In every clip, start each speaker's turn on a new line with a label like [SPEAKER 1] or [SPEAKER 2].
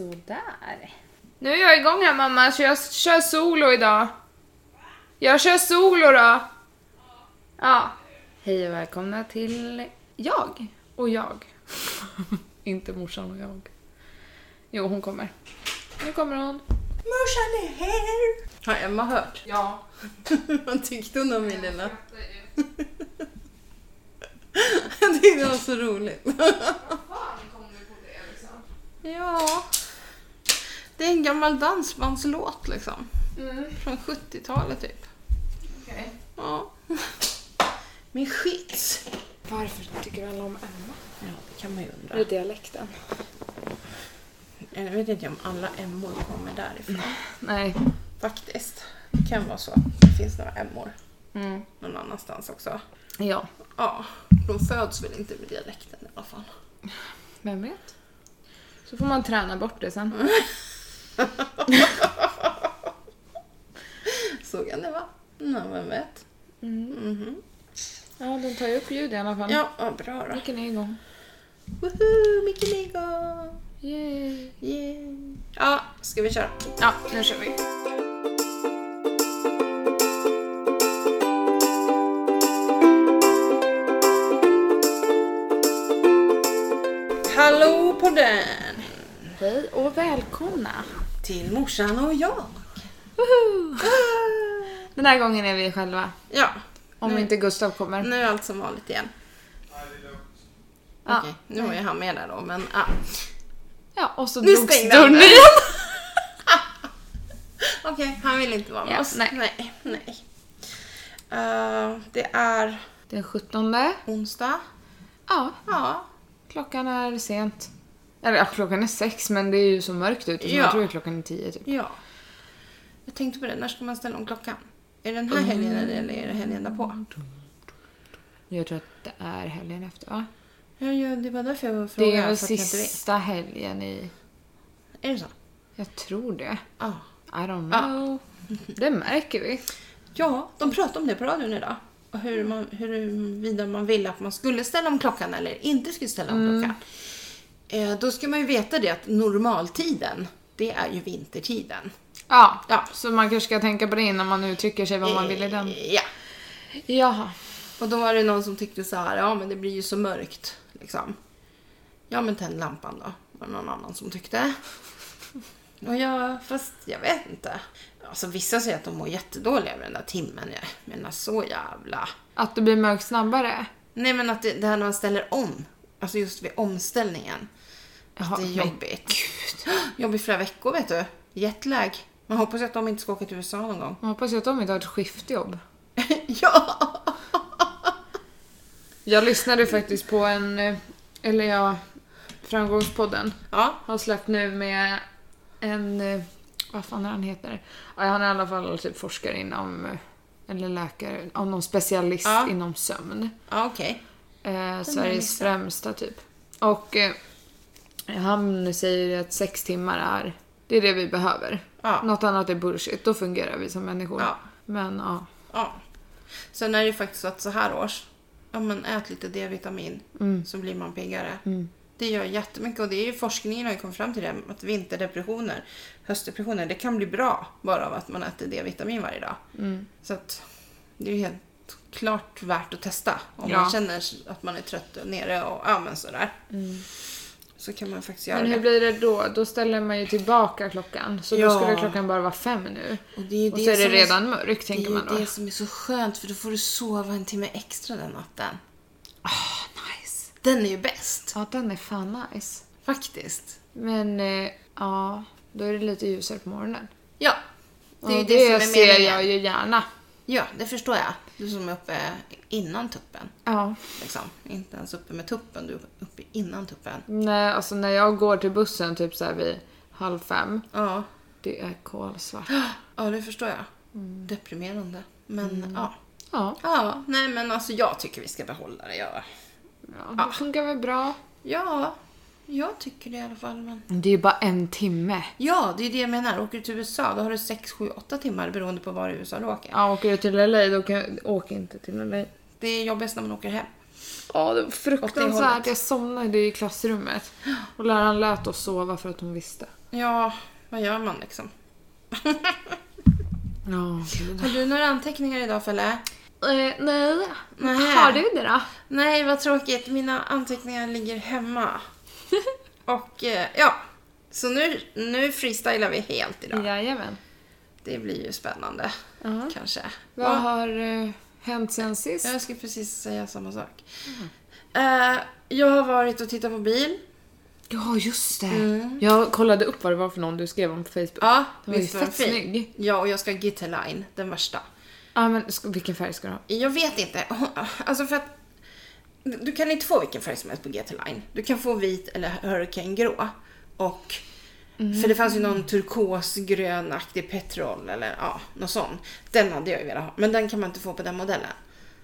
[SPEAKER 1] Sådär.
[SPEAKER 2] Nu är jag igång här mamma, så jag kör solo idag. Jag kör solo då. Ja. Hej och välkomna till jag och jag. Inte morsan och jag. Jo, hon kommer. Nu kommer hon.
[SPEAKER 3] Morsan är här! Har Emma hört?
[SPEAKER 2] Ja.
[SPEAKER 3] Vad tyckte hon om min lilla? Jag tyckte det var så roligt.
[SPEAKER 2] liksom?
[SPEAKER 3] Ja. Det är en gammal dansbandslåt liksom.
[SPEAKER 2] Mm,
[SPEAKER 3] Från 70-talet typ.
[SPEAKER 2] okej.
[SPEAKER 3] Ja. Min skits.
[SPEAKER 2] Varför tycker alla om Emma?
[SPEAKER 3] Ja, det kan man ju
[SPEAKER 2] Är
[SPEAKER 3] undra.
[SPEAKER 2] det dialekten?
[SPEAKER 3] Jag vet inte om alla emmor kommer därifrån.
[SPEAKER 2] Nej.
[SPEAKER 3] Faktiskt. Det kan vara så. Det finns några emmor
[SPEAKER 2] Mm.
[SPEAKER 3] någon annanstans också.
[SPEAKER 2] Ja.
[SPEAKER 3] Ja, de föds väl inte med dialekten i alla fall.
[SPEAKER 2] Vem vet? Så får man träna bort det sen.
[SPEAKER 3] Såg han det va? Nej, vem vet. Mhm.
[SPEAKER 2] Mm. Ja, den tar ju upp ljud i alla fall.
[SPEAKER 3] Ja, vad bra då.
[SPEAKER 2] Micken är igång.
[SPEAKER 3] Woho, Micke Nigo!
[SPEAKER 2] Yay.
[SPEAKER 3] Yeah. Ja, ska vi köra?
[SPEAKER 2] Ja, nu kör vi.
[SPEAKER 3] Hallå podden!
[SPEAKER 2] Hej och välkomna.
[SPEAKER 3] Till morsan och jag.
[SPEAKER 2] Den här gången är vi själva.
[SPEAKER 3] Ja,
[SPEAKER 2] Om
[SPEAKER 3] Nej.
[SPEAKER 2] inte Gustav kommer.
[SPEAKER 3] nu är allt som vanligt igen.
[SPEAKER 2] Ja.
[SPEAKER 3] Okej, nu var ju han med där då, men ja.
[SPEAKER 2] ja, och så
[SPEAKER 3] Nu
[SPEAKER 2] drogs
[SPEAKER 3] stängde han
[SPEAKER 2] dörren
[SPEAKER 3] den.
[SPEAKER 2] igen.
[SPEAKER 3] Okej, han vill inte vara med
[SPEAKER 2] Ja,
[SPEAKER 3] oss.
[SPEAKER 2] nej.
[SPEAKER 3] nej. nej. Eh, det är
[SPEAKER 2] Den 17.
[SPEAKER 3] onsdag.
[SPEAKER 2] Ja,
[SPEAKER 3] Ja,
[SPEAKER 2] klockan är sent. Eller ja, klockan är sex men det är ju så mörkt ute så
[SPEAKER 3] Ja.
[SPEAKER 2] man tror att klockan är tio typ.
[SPEAKER 3] Ja. Jag tänkte på det, när ska man ställa om klockan? Är det den
[SPEAKER 2] Mm.
[SPEAKER 3] här helgen eller är det helgen därpå?
[SPEAKER 2] Jag tror att det är helgen efter va?
[SPEAKER 3] Ja, ja, det var därför jag frågade.
[SPEAKER 2] Det är
[SPEAKER 3] för
[SPEAKER 2] väl
[SPEAKER 3] att jag inte vet.
[SPEAKER 2] sista helgen i...
[SPEAKER 3] Är det så?
[SPEAKER 2] Jag tror det.
[SPEAKER 3] Ja.
[SPEAKER 2] I don't know. Det märker vi.
[SPEAKER 3] Ja, de pratade om det på radion idag. Och hur
[SPEAKER 2] Mm.
[SPEAKER 3] man, huruvida man ville att man skulle ställa om klockan eller inte skulle ställa om
[SPEAKER 2] Mm.
[SPEAKER 3] klockan. Eh, då ska man ju veta det att normaltiden, det är ju vintertiden.
[SPEAKER 2] Ja,
[SPEAKER 3] Ja.
[SPEAKER 2] så man kanske ska tänka på det innan man uttrycker sig vad man vill i den.
[SPEAKER 3] Eh, Ja.
[SPEAKER 2] Jaha.
[SPEAKER 3] Och då var det någon som tyckte så här, ja men det blir ju så mörkt. Liksom. Ja men tänd lampan då, var det någon annan som tyckte. Och jag, fast jag vet inte. Alltså vissa säger att de mår jättedåliga över den där timmen. Jag menar så jävla...
[SPEAKER 2] Att det blir mörkt snabbare?
[SPEAKER 3] Nej men att det, det här när man ställer om. Alltså just vid omställningen.
[SPEAKER 2] Jaha,
[SPEAKER 3] Att det är
[SPEAKER 2] men
[SPEAKER 3] jobbigt. Jobbigt flera veckor vet du. Jetlag. Man hoppas ju att de inte ska åka till USA någon gång.
[SPEAKER 2] Man hoppas ju att de inte har ett skiftjobb.
[SPEAKER 3] ja!
[SPEAKER 2] Jag lyssnade faktiskt på en, eh, eller ja, Framgångspodden
[SPEAKER 3] Ja.
[SPEAKER 2] har släppt nu med en, eh, vad fan är han heter? Ja, han är i alla fall typ forskare inom, eh, eller läkare, om någon specialist
[SPEAKER 3] Ja.
[SPEAKER 2] inom sömn.
[SPEAKER 3] Ja okej.
[SPEAKER 2] Eh, Sveriges främsta typ. Och eh, han säger ju att sex timmar är, det är det vi behöver.
[SPEAKER 3] Ja.
[SPEAKER 2] Något annat är bullshit, då fungerar vi som människor.
[SPEAKER 3] Ja.
[SPEAKER 2] Men ja.
[SPEAKER 3] Ja. Sen är det ju faktiskt så att så här års, ja men ät lite D-vitamin
[SPEAKER 2] Mm.
[SPEAKER 3] så blir man piggare. Det gör jättemycket och det är ju forskningen har ju kommit fram till det, att vinterdepressioner, höstdepressioner, det kan bli bra bara av att man äter D-vitamin varje dag.
[SPEAKER 2] Mm.
[SPEAKER 3] Så att det är ju helt klart värt att testa om
[SPEAKER 2] Ja.
[SPEAKER 3] man känner att man är trött och nere och ja men sådär. Så kan man faktiskt göra
[SPEAKER 2] Mm. Men hur
[SPEAKER 3] det.
[SPEAKER 2] blir det då? Då ställer man ju tillbaka klockan. Så då
[SPEAKER 3] Ja.
[SPEAKER 2] skulle klockan bara vara fem nu.
[SPEAKER 3] Och det är ju
[SPEAKER 2] Och så är det
[SPEAKER 3] som
[SPEAKER 2] redan mörkt
[SPEAKER 3] Det är
[SPEAKER 2] tänker
[SPEAKER 3] ju
[SPEAKER 2] man då.
[SPEAKER 3] det som är så skönt för då får du sova en timme extra den natten.
[SPEAKER 2] Nice.
[SPEAKER 3] Den är ju bäst.
[SPEAKER 2] Ja, den är fan nice.
[SPEAKER 3] Faktiskt.
[SPEAKER 2] Men eh, ja, då är det lite ljusare på morgonen.
[SPEAKER 3] Ja.
[SPEAKER 2] Det, är
[SPEAKER 3] ju
[SPEAKER 2] det, det
[SPEAKER 3] som är
[SPEAKER 2] ser
[SPEAKER 3] meningen.
[SPEAKER 2] jag ju gärna.
[SPEAKER 3] Ja, det förstår jag. Du som är uppe innan tuppen.
[SPEAKER 2] Ja.
[SPEAKER 3] Liksom. Inte ens uppe med tuppen, du är uppe innan tuppen.
[SPEAKER 2] Nej, alltså när jag går till bussen typ så här vid halv fem.
[SPEAKER 3] Ja,
[SPEAKER 2] Det är kolsvart.
[SPEAKER 3] ja det förstår jag.
[SPEAKER 2] Mm.
[SPEAKER 3] Deprimerande. Men ja.
[SPEAKER 2] Ja,
[SPEAKER 3] Ja, nej men alltså jag tycker vi ska behålla det. Ja,
[SPEAKER 2] ja det funkar väl bra.
[SPEAKER 3] ja jag tycker det i alla fall. Men...
[SPEAKER 2] Det är ju bara en timme.
[SPEAKER 3] Ja, det är det jag menar. Åker du till USA då har du 6, 7, 8 timmar beroende på var i USA du åker.
[SPEAKER 2] Ja, åker du till LA då kan jag... Åk inte till LA.
[SPEAKER 3] Det är jobbigast när man åker hem.
[SPEAKER 2] Ja, det var
[SPEAKER 3] Åt det
[SPEAKER 2] fruktansvärt.
[SPEAKER 3] hållet.
[SPEAKER 2] Jag somnade i klassrummet. Och läraren lät oss sova för att hon visste.
[SPEAKER 3] Ja, vad gör man liksom?
[SPEAKER 2] Ja,
[SPEAKER 3] Har du några anteckningar idag Felle?
[SPEAKER 2] eh, nej.
[SPEAKER 3] Nej.
[SPEAKER 2] Har du det då?
[SPEAKER 3] Nej, vad tråkigt. Mina anteckningar ligger hemma. Och eh, ja, så nu, nu freestylar vi helt idag.
[SPEAKER 2] Jajamän.
[SPEAKER 3] Det blir ju spännande,
[SPEAKER 2] Ja.
[SPEAKER 3] kanske.
[SPEAKER 2] Vad
[SPEAKER 3] Ja,
[SPEAKER 2] har eh, hänt sen sist?
[SPEAKER 3] Jag ska precis säga samma sak.
[SPEAKER 2] Mm.
[SPEAKER 3] Eh, jag har varit och tittat på bil.
[SPEAKER 2] Ja, just det. Jag kollade upp vad det var för någon du skrev om på Facebook.
[SPEAKER 3] Ja,
[SPEAKER 2] Den var ju
[SPEAKER 3] visst var den
[SPEAKER 2] fett snygg.
[SPEAKER 3] Ja, och jag ska ha Gitterline, den värsta.
[SPEAKER 2] Ja, men sk- vilken färg ska du ha?
[SPEAKER 3] Jag vet inte. Alltså för att du kan inte få vilken färg som helst på GT Line. Du kan få vit eller hurricanegrå. Och För det fanns ju någon
[SPEAKER 2] Mm.
[SPEAKER 3] turkosgrönaktig petrol eller ja, någon sån. Den hade jag ju velat ha. Men den kan man inte få på den modellen.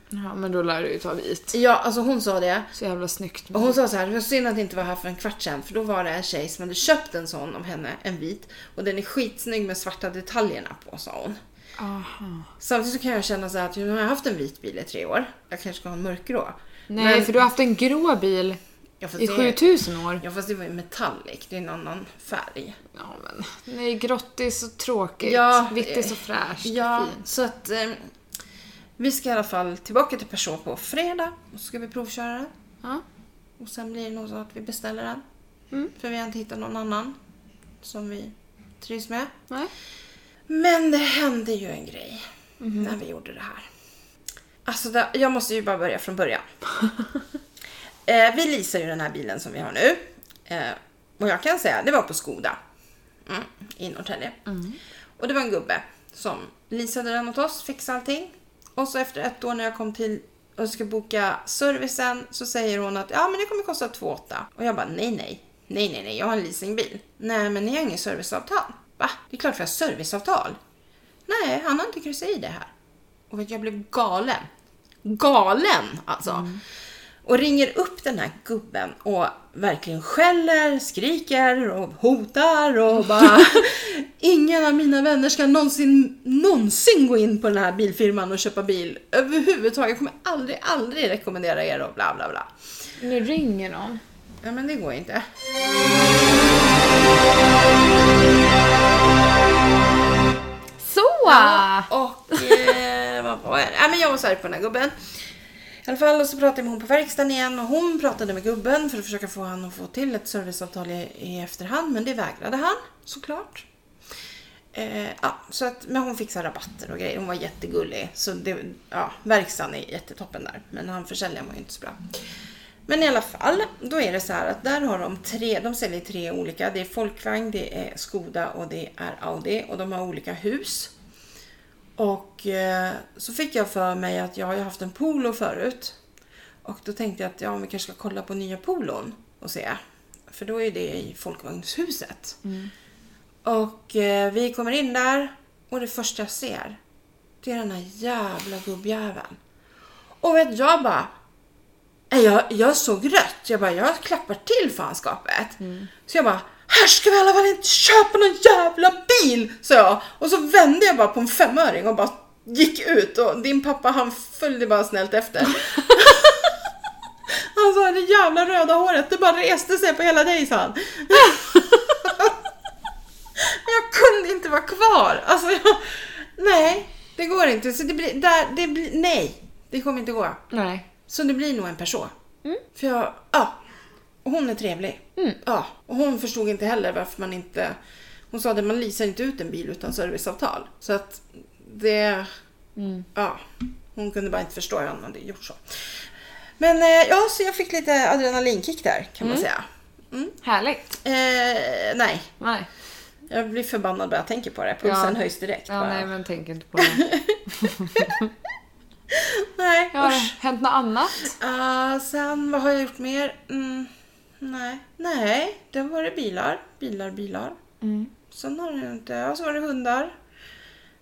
[SPEAKER 2] Ja, men då lär du ju ta vit.
[SPEAKER 3] Ja, alltså hon sa det.
[SPEAKER 2] Så jävla snyggt.
[SPEAKER 3] Och hon sa så här, det var synd att det inte var här för en kvart sedan. För då var det en tjej som hade köpt en sån om henne, en vit. Och den är skitsnygg med svarta detaljerna på, sa hon.
[SPEAKER 2] Aha.
[SPEAKER 3] Samtidigt så kan jag känna så här att nu har jag haft en vit bil i tre år. Jag kanske ska ha en mörkgrå.
[SPEAKER 2] Nej,
[SPEAKER 3] Men-
[SPEAKER 2] för du har haft en grå bil
[SPEAKER 3] Ja, fast
[SPEAKER 2] i
[SPEAKER 3] det-
[SPEAKER 2] 7000 år.
[SPEAKER 3] Ja fast det var ju metallic, det är en annan färg.
[SPEAKER 2] Ja, men nej, grått är så tråkigt.
[SPEAKER 3] Ja,
[SPEAKER 2] Vitt är
[SPEAKER 3] eh,
[SPEAKER 2] så fräscht.
[SPEAKER 3] Ja,
[SPEAKER 2] Fint.
[SPEAKER 3] så att eh, vi ska i alla fall tillbaka till Peugeot på fredag och så ska vi provköra den.
[SPEAKER 2] Ja.
[SPEAKER 3] Och sen blir det nog så att vi beställer den.
[SPEAKER 2] Mm.
[SPEAKER 3] För vi har inte hittat någon annan som vi trivs med.
[SPEAKER 2] Nej.
[SPEAKER 3] Men det hände ju en grej när vi gjorde det här. Alltså, det, jag måste ju bara börja från början. eh, vi leasar ju den här bilen som vi har nu. Eh, och jag kan säga, det var på Skoda. Mm, I Norrtälje. Och det var en gubbe som leasade den åt oss, fixade allting. Och så efter ett år när jag kom till och ska boka servicen så säger hon att ja men det kommer kosta 2 800. Och jag bara nej nej. Nej nej nej, jag har en leasingbil. Nej men ni har ingen serviceavtal. Va? Det är klart vi har serviceavtal. Nej, han har inte kryssat i det här. Och vet du, jag blev galen. Galen alltså. Och ringer upp den här gubben och verkligen skäller, skriker och hotar och bara Ingen av mina vänner ska någonsin, någonsin gå in på den här bilfirman och köpa bil överhuvudtaget. Jag kommer aldrig, aldrig rekommendera er och bla bla bla.
[SPEAKER 2] Nu ringer någon.
[SPEAKER 3] Ja men det går inte.
[SPEAKER 2] Så!
[SPEAKER 3] Och eh, vad var jag? Nej, men jag var så arg på den här gubben. I alla fall och så pratade jag med hon på verkstaden igen och hon pratade med gubben för att försöka få han att få till ett serviceavtal i, i efterhand men det vägrade han såklart. Eh, ja, så att, men hon fixade rabatter och grejer. Hon var jättegullig. Så det, ja, verkstaden är jättetoppen där. Men han försäljaren var ju inte så bra. Men i alla fall, då är det så här att där har de tre, de säljer tre olika. Det är Folkvagn, det är Skoda och det är Audi. Och de har olika hus. Och eh, så fick jag för mig att jag har ju haft en polo förut. Och då tänkte jag att ja, men vi kanske ska kolla på nya polon och se. För då är det i folkvagnshuset. Och eh, vi kommer in där och det första jag ser, det är den här jävla gubbjäveln. Och vet jag bara, Nej, "Äh, jag, jag såg rött. Jag bara, jag klappar till fanskapet. Så jag bara, här ska vi i alla fall inte köpa någon jävla bil, sa jag. Och så vände jag bara på en femöring och bara gick ut och din pappa han följde bara snällt efter. han sa, det jävla röda håret, det bara reste sig på hela dig, sa han. jag kunde inte vara kvar. Alltså, jag, nej, det går inte. Så det blir, där, det blir, nej, det kommer inte gå.
[SPEAKER 2] Nej.
[SPEAKER 3] Så det blir nog en person.
[SPEAKER 2] Mm.
[SPEAKER 3] För jag, ja. Och hon är trevlig. Ja. Och hon förstod inte heller varför man inte... Hon sa att man leasar inte ut en bil utan serviceavtal. Så att det...
[SPEAKER 2] Mm.
[SPEAKER 3] Ja. Hon kunde bara inte förstå hur han hade gjort så. Men eh, ja, så jag fick lite adrenalinkick där kan
[SPEAKER 2] Mm.
[SPEAKER 3] man säga. Mm.
[SPEAKER 2] Härligt.
[SPEAKER 3] Eh, nej,
[SPEAKER 2] Nej.
[SPEAKER 3] jag blir förbannad bara jag tänker på det. Pulsen höjs direkt.
[SPEAKER 2] Ja,
[SPEAKER 3] bara.
[SPEAKER 2] nej men tänk inte på det.
[SPEAKER 3] nej
[SPEAKER 2] Har
[SPEAKER 3] usch.
[SPEAKER 2] det hänt något annat?
[SPEAKER 3] Ah, sen, vad har jag gjort mer? Mm, nej, nej, det har varit bilar, bilar, bilar. Sen har det inte, ja, så var det hundar.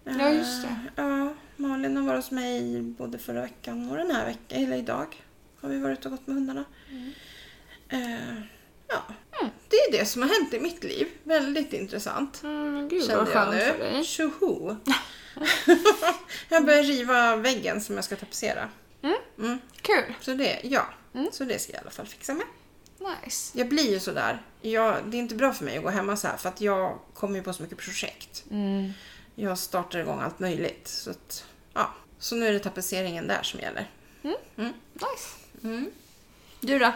[SPEAKER 2] Ja, just det.
[SPEAKER 3] Eh, ja, Malin har varit hos mig både förra veckan och den här veckan, eller idag har vi varit och gått med hundarna.
[SPEAKER 2] Mm.
[SPEAKER 3] Eh, ja, det är det som har hänt i mitt liv. Väldigt intressant.
[SPEAKER 2] Mm, gud vad
[SPEAKER 3] Kände jag
[SPEAKER 2] skönt för
[SPEAKER 3] nu.
[SPEAKER 2] dig.
[SPEAKER 3] Tjoho! jag börjar riva väggen
[SPEAKER 2] Mm.
[SPEAKER 3] som jag ska tapetsera. Mm.
[SPEAKER 2] Kul.
[SPEAKER 3] Så det, ja. Så det ska jag i alla fall fixa med.
[SPEAKER 2] Nice.
[SPEAKER 3] Jag blir ju sådär. Jag, det är inte bra för mig att gå hemma så här för att jag kommer ju på så mycket projekt.
[SPEAKER 2] Mm.
[SPEAKER 3] Jag startar igång allt möjligt. Så, att, ja. så nu är det tapetseringen där som gäller.
[SPEAKER 2] Nice.
[SPEAKER 3] Du då?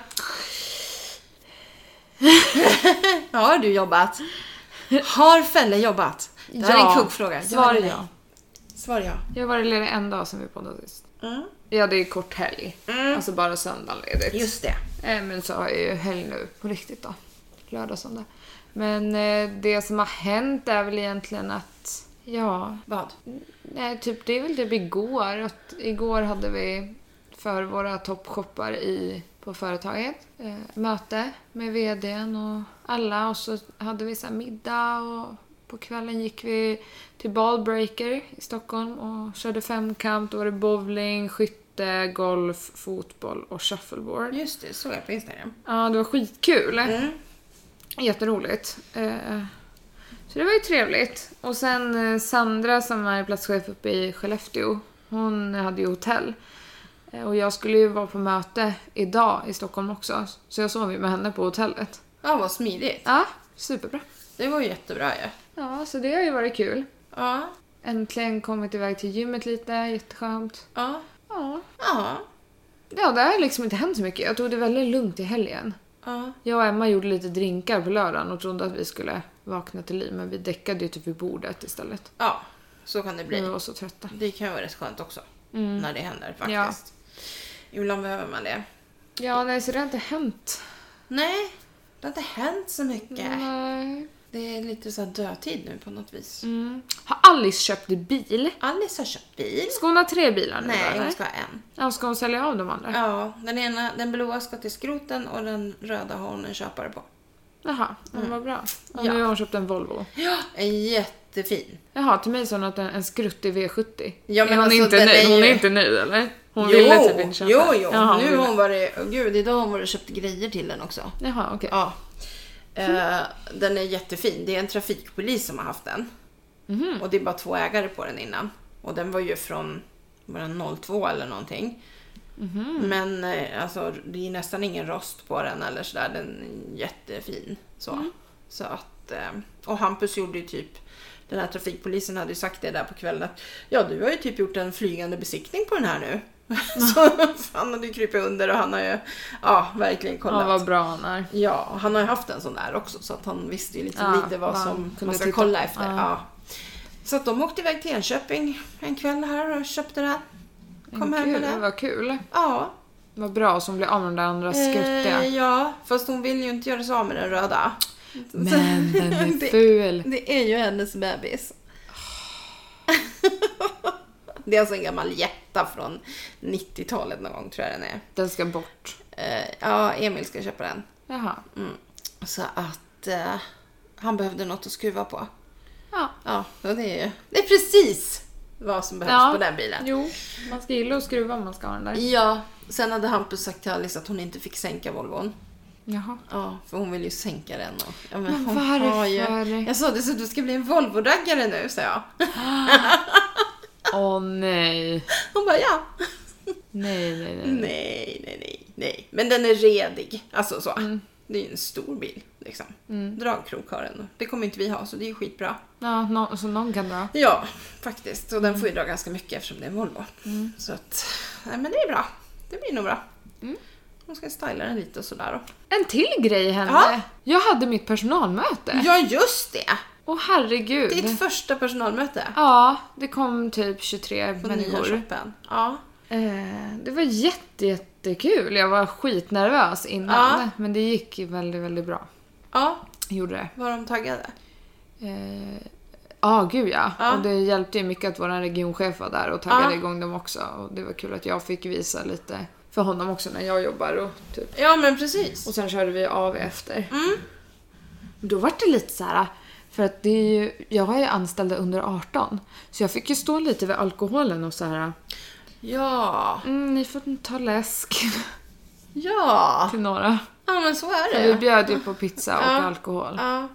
[SPEAKER 3] Har du jobbat? Har Felle jobbat? Det här är en kuggfråga.
[SPEAKER 2] Svar
[SPEAKER 3] eller
[SPEAKER 2] ja.
[SPEAKER 3] nej? Svar ja.
[SPEAKER 2] Jag har varit ledig en dag som vi poddade sist.
[SPEAKER 3] Mm.
[SPEAKER 2] Ja, det är kort helg.
[SPEAKER 3] Mm.
[SPEAKER 2] Alltså bara söndag ledigt.
[SPEAKER 3] Just det.
[SPEAKER 2] Eh, Men så har jag ju helg nu på riktigt då. Lördag, söndag. Men eh, det som har hänt är väl egentligen att, ja,
[SPEAKER 3] Vad?
[SPEAKER 2] nej, typ, det är väl typ igår. Att igår hade vi för våra toppshoppar i, på företaget eh, möte med vdn och alla och så hade vi så här middag och på kvällen gick vi till Ballbreaker i Stockholm och körde femkamp. Då var det bowling, skytte, golf, fotboll och shuffleboard.
[SPEAKER 3] Just det, såg jag på Instagram.
[SPEAKER 2] Ja, det var skitkul.
[SPEAKER 3] Mm.
[SPEAKER 2] Jätteroligt. Eh, Så det var ju trevligt. Och sen eh, Sandra som är platschef uppe i Skellefteå, hon hade ju hotell. Eh, Och jag skulle ju vara på möte idag i Stockholm också, så jag sov ju med henne på hotellet.
[SPEAKER 3] Ja, vad smidigt.
[SPEAKER 2] Ja, superbra.
[SPEAKER 3] Det var ju jättebra ju. Ja.
[SPEAKER 2] Ja, så det har ju varit kul.
[SPEAKER 3] ja,
[SPEAKER 2] Äntligen kommit iväg till gymmet lite, jätteskönt.
[SPEAKER 3] ja,
[SPEAKER 2] Ja,
[SPEAKER 3] ja,
[SPEAKER 2] ja det har liksom inte hänt så mycket. Jag tog det väldigt lugnt i helgen.
[SPEAKER 3] ja.
[SPEAKER 2] Jag och Emma gjorde lite drinkar på lördagen och trodde att vi skulle vakna till liv men vi däckade ju typ vid bordet istället.
[SPEAKER 3] ja. Så kan det bli.
[SPEAKER 2] Vi var så trötta.
[SPEAKER 3] Det kan vara rätt skönt också.
[SPEAKER 2] Mm.
[SPEAKER 3] När det händer faktiskt.
[SPEAKER 2] Ja.
[SPEAKER 3] Ibland behöver man det.
[SPEAKER 2] Ja, nej så det har inte hänt.
[SPEAKER 3] Nej, det har inte hänt så mycket.
[SPEAKER 2] Mm. Nej.
[SPEAKER 3] Det är lite så här dödtid nu på något vis.
[SPEAKER 2] Mm. Har Alice köpt bil?
[SPEAKER 3] Alice har köpt bil.
[SPEAKER 2] Ska hon ha tre bilar nu
[SPEAKER 3] Nej,
[SPEAKER 2] då,
[SPEAKER 3] hon
[SPEAKER 2] eller?
[SPEAKER 3] ska ha en.
[SPEAKER 2] Ja, ska hon sälja av de andra?
[SPEAKER 3] Ja, den, ena, den blåa ska till skroten och den röda har hon en köpare på.
[SPEAKER 2] Jaha, mm. vad bra. Och
[SPEAKER 3] Ja.
[SPEAKER 2] Nu har hon köpt en Volvo.
[SPEAKER 3] Ja, en jättefin.
[SPEAKER 2] Jaha, till mig sa hon att en, en skruttig V70.
[SPEAKER 3] Ja, men
[SPEAKER 2] är hon,
[SPEAKER 3] alltså,
[SPEAKER 2] inte
[SPEAKER 3] den
[SPEAKER 2] nöjd?
[SPEAKER 3] är
[SPEAKER 2] hon
[SPEAKER 3] ju-
[SPEAKER 2] är inte nöjd eller? Hon ville typ inte köpa.
[SPEAKER 3] jo, jo.
[SPEAKER 2] Jaha, hon
[SPEAKER 3] nu
[SPEAKER 2] ville.
[SPEAKER 3] har hon varit... åh gud, idag har hon varit och köpt grejer till den också.
[SPEAKER 2] Jaha, okej. Mm.
[SPEAKER 3] Ja. Eh, den är jättefin. Det är en trafikpolis som har haft den.
[SPEAKER 2] Mhm.
[SPEAKER 3] Och det är bara två ägare på den innan. Och den var ju från var den 02 eller någonting.
[SPEAKER 2] Mhm.
[SPEAKER 3] Men eh, alltså, det är nästan ingen rost på den eller sådär. Den är jättefin. Så.
[SPEAKER 2] Mm.
[SPEAKER 3] Så att, eh, och Hampus gjorde ju typ den här trafikpolisen hade ju sagt det där på kvällen att ja du har ju typ gjort en flygande besiktning på den här nu. Så han hade ju krupit under och han har ju ja, verkligen kollat.
[SPEAKER 2] Ja, vad bra hon är.
[SPEAKER 3] Ja, och han har ju haft en sån där också så att han visste ju liksom
[SPEAKER 2] Ja,
[SPEAKER 3] lite vad
[SPEAKER 2] vad han
[SPEAKER 3] som
[SPEAKER 2] kunde
[SPEAKER 3] man ska
[SPEAKER 2] titta-
[SPEAKER 3] kolla efter.
[SPEAKER 2] ja.
[SPEAKER 3] Ja. Så att de åkte iväg till Enköping en kväll här och köpte det. Kom hem med
[SPEAKER 2] Gud,
[SPEAKER 3] det.
[SPEAKER 2] vad kul.
[SPEAKER 3] Ja.
[SPEAKER 2] Vad bra, som blev av med den där andra skruttiga.
[SPEAKER 3] Eh, ja, fast hon vill ju inte göra sig av med den röda.
[SPEAKER 2] Men den är
[SPEAKER 3] Det-
[SPEAKER 2] ful.
[SPEAKER 3] Det är ju hennes bebis. det är alltså en gammal jätta från 90-talet någon gång tror jag den är.
[SPEAKER 2] Den ska bort.
[SPEAKER 3] Eh, ja, Emil ska köpa den.
[SPEAKER 2] Jaha.
[SPEAKER 3] Mm. Så att eh, han behövde något att skruva på.
[SPEAKER 2] Ja.
[SPEAKER 3] Ja, och det är ju... Det är precis vad som behövs
[SPEAKER 2] Ja.
[SPEAKER 3] på den bilen.
[SPEAKER 2] Jo, man ska gilla att skruva om man ska ha den där.
[SPEAKER 3] Ja, sen hade Hampus sagt till Alice att hon inte fick sänka Volvon.
[SPEAKER 2] Jaha.
[SPEAKER 3] Ja, för hon vill ju sänka den. Och, ja,
[SPEAKER 2] Men
[SPEAKER 3] hon har
[SPEAKER 2] varför?
[SPEAKER 3] Jag sa det så att du ska bli en Volvo-raggare nu, sa jag.
[SPEAKER 2] Åh nej.
[SPEAKER 3] Hon bara ja.
[SPEAKER 2] Mm. Nej, nej, nej.
[SPEAKER 3] Nej, nej, nej, nej. Men den är redig. Alltså så.
[SPEAKER 2] Mm.
[SPEAKER 3] Det är ju en stor bil liksom. Dragkrok har den. Det kommer inte vi ha så det är ju skitbra.
[SPEAKER 2] Ja, nå- så någon kan dra.
[SPEAKER 3] Ja, faktiskt. Och den får ju dra ganska mycket eftersom det är en Volvo. Så att, nej men det är bra. Det blir nog bra. Hon ska styla den lite och sådär. då.
[SPEAKER 2] En till grej hände.
[SPEAKER 3] Ja.
[SPEAKER 2] Jag hade mitt personalmöte.
[SPEAKER 3] Ja, just det!
[SPEAKER 2] Åh herregud.
[SPEAKER 3] Ditt första personalmöte
[SPEAKER 2] Mm. Ja, det kom typ 23
[SPEAKER 3] på nya
[SPEAKER 2] människor.
[SPEAKER 3] shoppen. Ja.
[SPEAKER 2] Eh, det var jätte, jättekul. Jag var skitnervös innan.
[SPEAKER 3] Ja.
[SPEAKER 2] Men det gick ju väldigt, väldigt bra.
[SPEAKER 3] ja,
[SPEAKER 2] Gjorde det.
[SPEAKER 3] var de taggade?
[SPEAKER 2] Eh, ah, gud ja.
[SPEAKER 3] Ja.
[SPEAKER 2] Och det hjälpte ju mycket att vår regionchef var där och taggade
[SPEAKER 3] Ja.
[SPEAKER 2] igång dem också. Och det var kul att jag fick visa lite för honom också när jag jobbar och typ.
[SPEAKER 3] Ja, men precis.
[SPEAKER 2] Och sen körde vi av efter.
[SPEAKER 3] Mm.
[SPEAKER 2] Då var det lite så här. För att det är ju, jag är ju anställd under 18. Så jag fick ju stå lite vid alkoholen och så här.
[SPEAKER 3] Ja,
[SPEAKER 2] Mm, ni får ta läsk
[SPEAKER 3] ja.
[SPEAKER 2] till några.
[SPEAKER 3] Ja, men så är
[SPEAKER 2] För vi
[SPEAKER 3] det.
[SPEAKER 2] bjöd ju på pizza och
[SPEAKER 3] Ja.
[SPEAKER 2] alkohol.
[SPEAKER 3] Ja.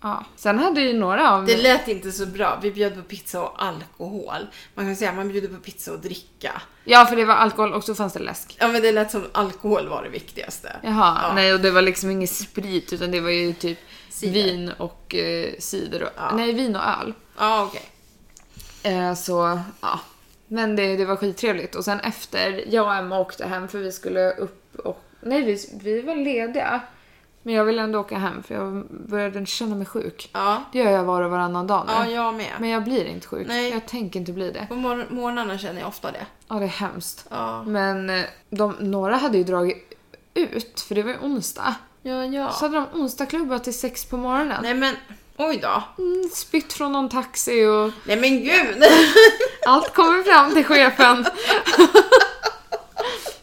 [SPEAKER 2] Ja. Sen hade ju några av...
[SPEAKER 3] Det lät inte så bra. Vi bjöd på pizza och alkohol. Man kan säga man bjuder på pizza och dricka.
[SPEAKER 2] Ja, för det var alkohol och så fanns det läsk.
[SPEAKER 3] Ja men det lät som alkohol var det viktigaste.
[SPEAKER 2] Jaha,
[SPEAKER 3] Ja.
[SPEAKER 2] nej och det var liksom ingen sprit utan det var ju typ
[SPEAKER 3] Cider.
[SPEAKER 2] vin och eh, cider och...
[SPEAKER 3] Ja.
[SPEAKER 2] Nej, vin och öl.
[SPEAKER 3] Ja okej.
[SPEAKER 2] Eh, så, ja. Men det, det var skittrevligt. Och sen efter, jag och Emma åkte hem för vi skulle upp och... Nej, vi, vi var lediga. Men jag ville ändå åka hem för jag började känna mig sjuk.
[SPEAKER 3] Ja.
[SPEAKER 2] Det gör jag var och varannan dag nu.
[SPEAKER 3] ja, jag med.
[SPEAKER 2] Men jag blir inte sjuk.
[SPEAKER 3] Nej.
[SPEAKER 2] Jag tänker inte bli det.
[SPEAKER 3] På mor- morgnarna känner jag ofta det.
[SPEAKER 2] Ja, det är hemskt.
[SPEAKER 3] Ja.
[SPEAKER 2] Men eh, de, några hade ju dragit ut, för det var ju onsdag.
[SPEAKER 3] Ja, ja.
[SPEAKER 2] Så hade de onsdagsklubbar till sex på morgonen.
[SPEAKER 3] Nej men, oj då.
[SPEAKER 2] Mm, spytt från någon taxi och
[SPEAKER 3] Nej men gud!
[SPEAKER 2] allt kommer fram till chefen.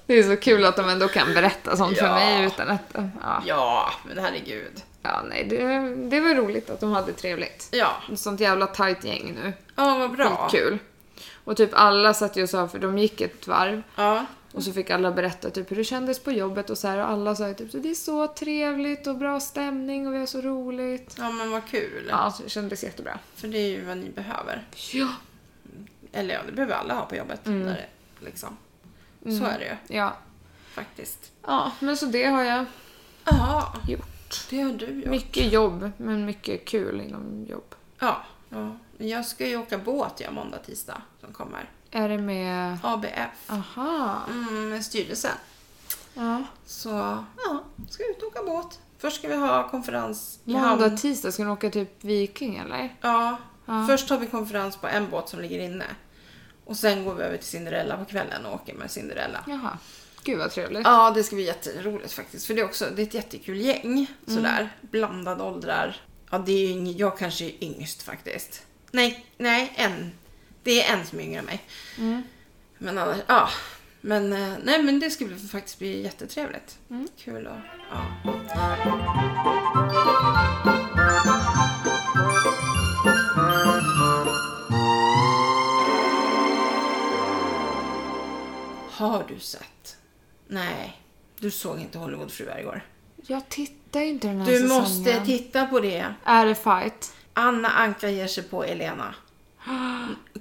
[SPEAKER 2] Det är så kul att de ändå kan berätta sånt för
[SPEAKER 3] Ja.
[SPEAKER 2] mig utan att... Ja,
[SPEAKER 3] ja, men herregud.
[SPEAKER 2] ja nej, det, det var roligt att de hade trevligt.
[SPEAKER 3] Ja.
[SPEAKER 2] Sånt jävla tight gäng nu.
[SPEAKER 3] Ja, vad bra.
[SPEAKER 2] Kul. Och typ alla satt ju och sa, för de gick ett varv
[SPEAKER 3] Ja.
[SPEAKER 2] Och så fick alla berätta typ hur det kändes på jobbet och så här och alla sa ju typ så det är så trevligt och bra stämning och vi har så roligt.
[SPEAKER 3] ja, men vad kul.
[SPEAKER 2] Ja, så det kändes jättebra.
[SPEAKER 3] För det är ju vad ni behöver.
[SPEAKER 2] Ja.
[SPEAKER 3] Eller ja, det behöver alla ha på jobbet. Där, det- liksom. Så är det ju
[SPEAKER 2] Ja.
[SPEAKER 3] faktiskt.
[SPEAKER 2] Ja, men så det har jag
[SPEAKER 3] Ja,
[SPEAKER 2] gjort.
[SPEAKER 3] det har du gjort.
[SPEAKER 2] Mycket jobb, men mycket kul inom jobb.
[SPEAKER 3] Ja. ja. Jag ska ju åka båt jag måndag, tisdag som kommer.
[SPEAKER 2] Är det med...
[SPEAKER 3] ABF.
[SPEAKER 2] Aha.
[SPEAKER 3] Mm, med styrelsen.
[SPEAKER 2] Ja.
[SPEAKER 3] Så ja, ska ut och åka båt. Först ska vi ha konferens i hamn.
[SPEAKER 2] Måndag, tisdag ska ni åka typ Viking eller?
[SPEAKER 3] Ja.
[SPEAKER 2] Ja.
[SPEAKER 3] Först har vi konferens på en båt som ligger inne. Och sen går vi över till Cinderella på kvällen och åker med Cinderella.
[SPEAKER 2] Jaha. Gud vad trevligt.
[SPEAKER 3] Ja, det ska bli jätteroligt faktiskt. För det är också det är ett jättekul gäng. Sådär. Blandade åldrar. Ja, det är ju ing- jag kanske är yngst faktiskt. Nej, nej, en. Det är en som är yngre än mig. Men annars, ja. Men, eh, nej, men det ska bli, faktiskt bli jättetrevligt. Kul och, ja. Har du sett? Nej, du såg inte Hollywoodfruar igår.
[SPEAKER 2] Jag tittar ju inte den här
[SPEAKER 3] Du
[SPEAKER 2] säsongen.
[SPEAKER 3] måste titta på det.
[SPEAKER 2] Är det fight?
[SPEAKER 3] Anna Anka ger sig på Elena.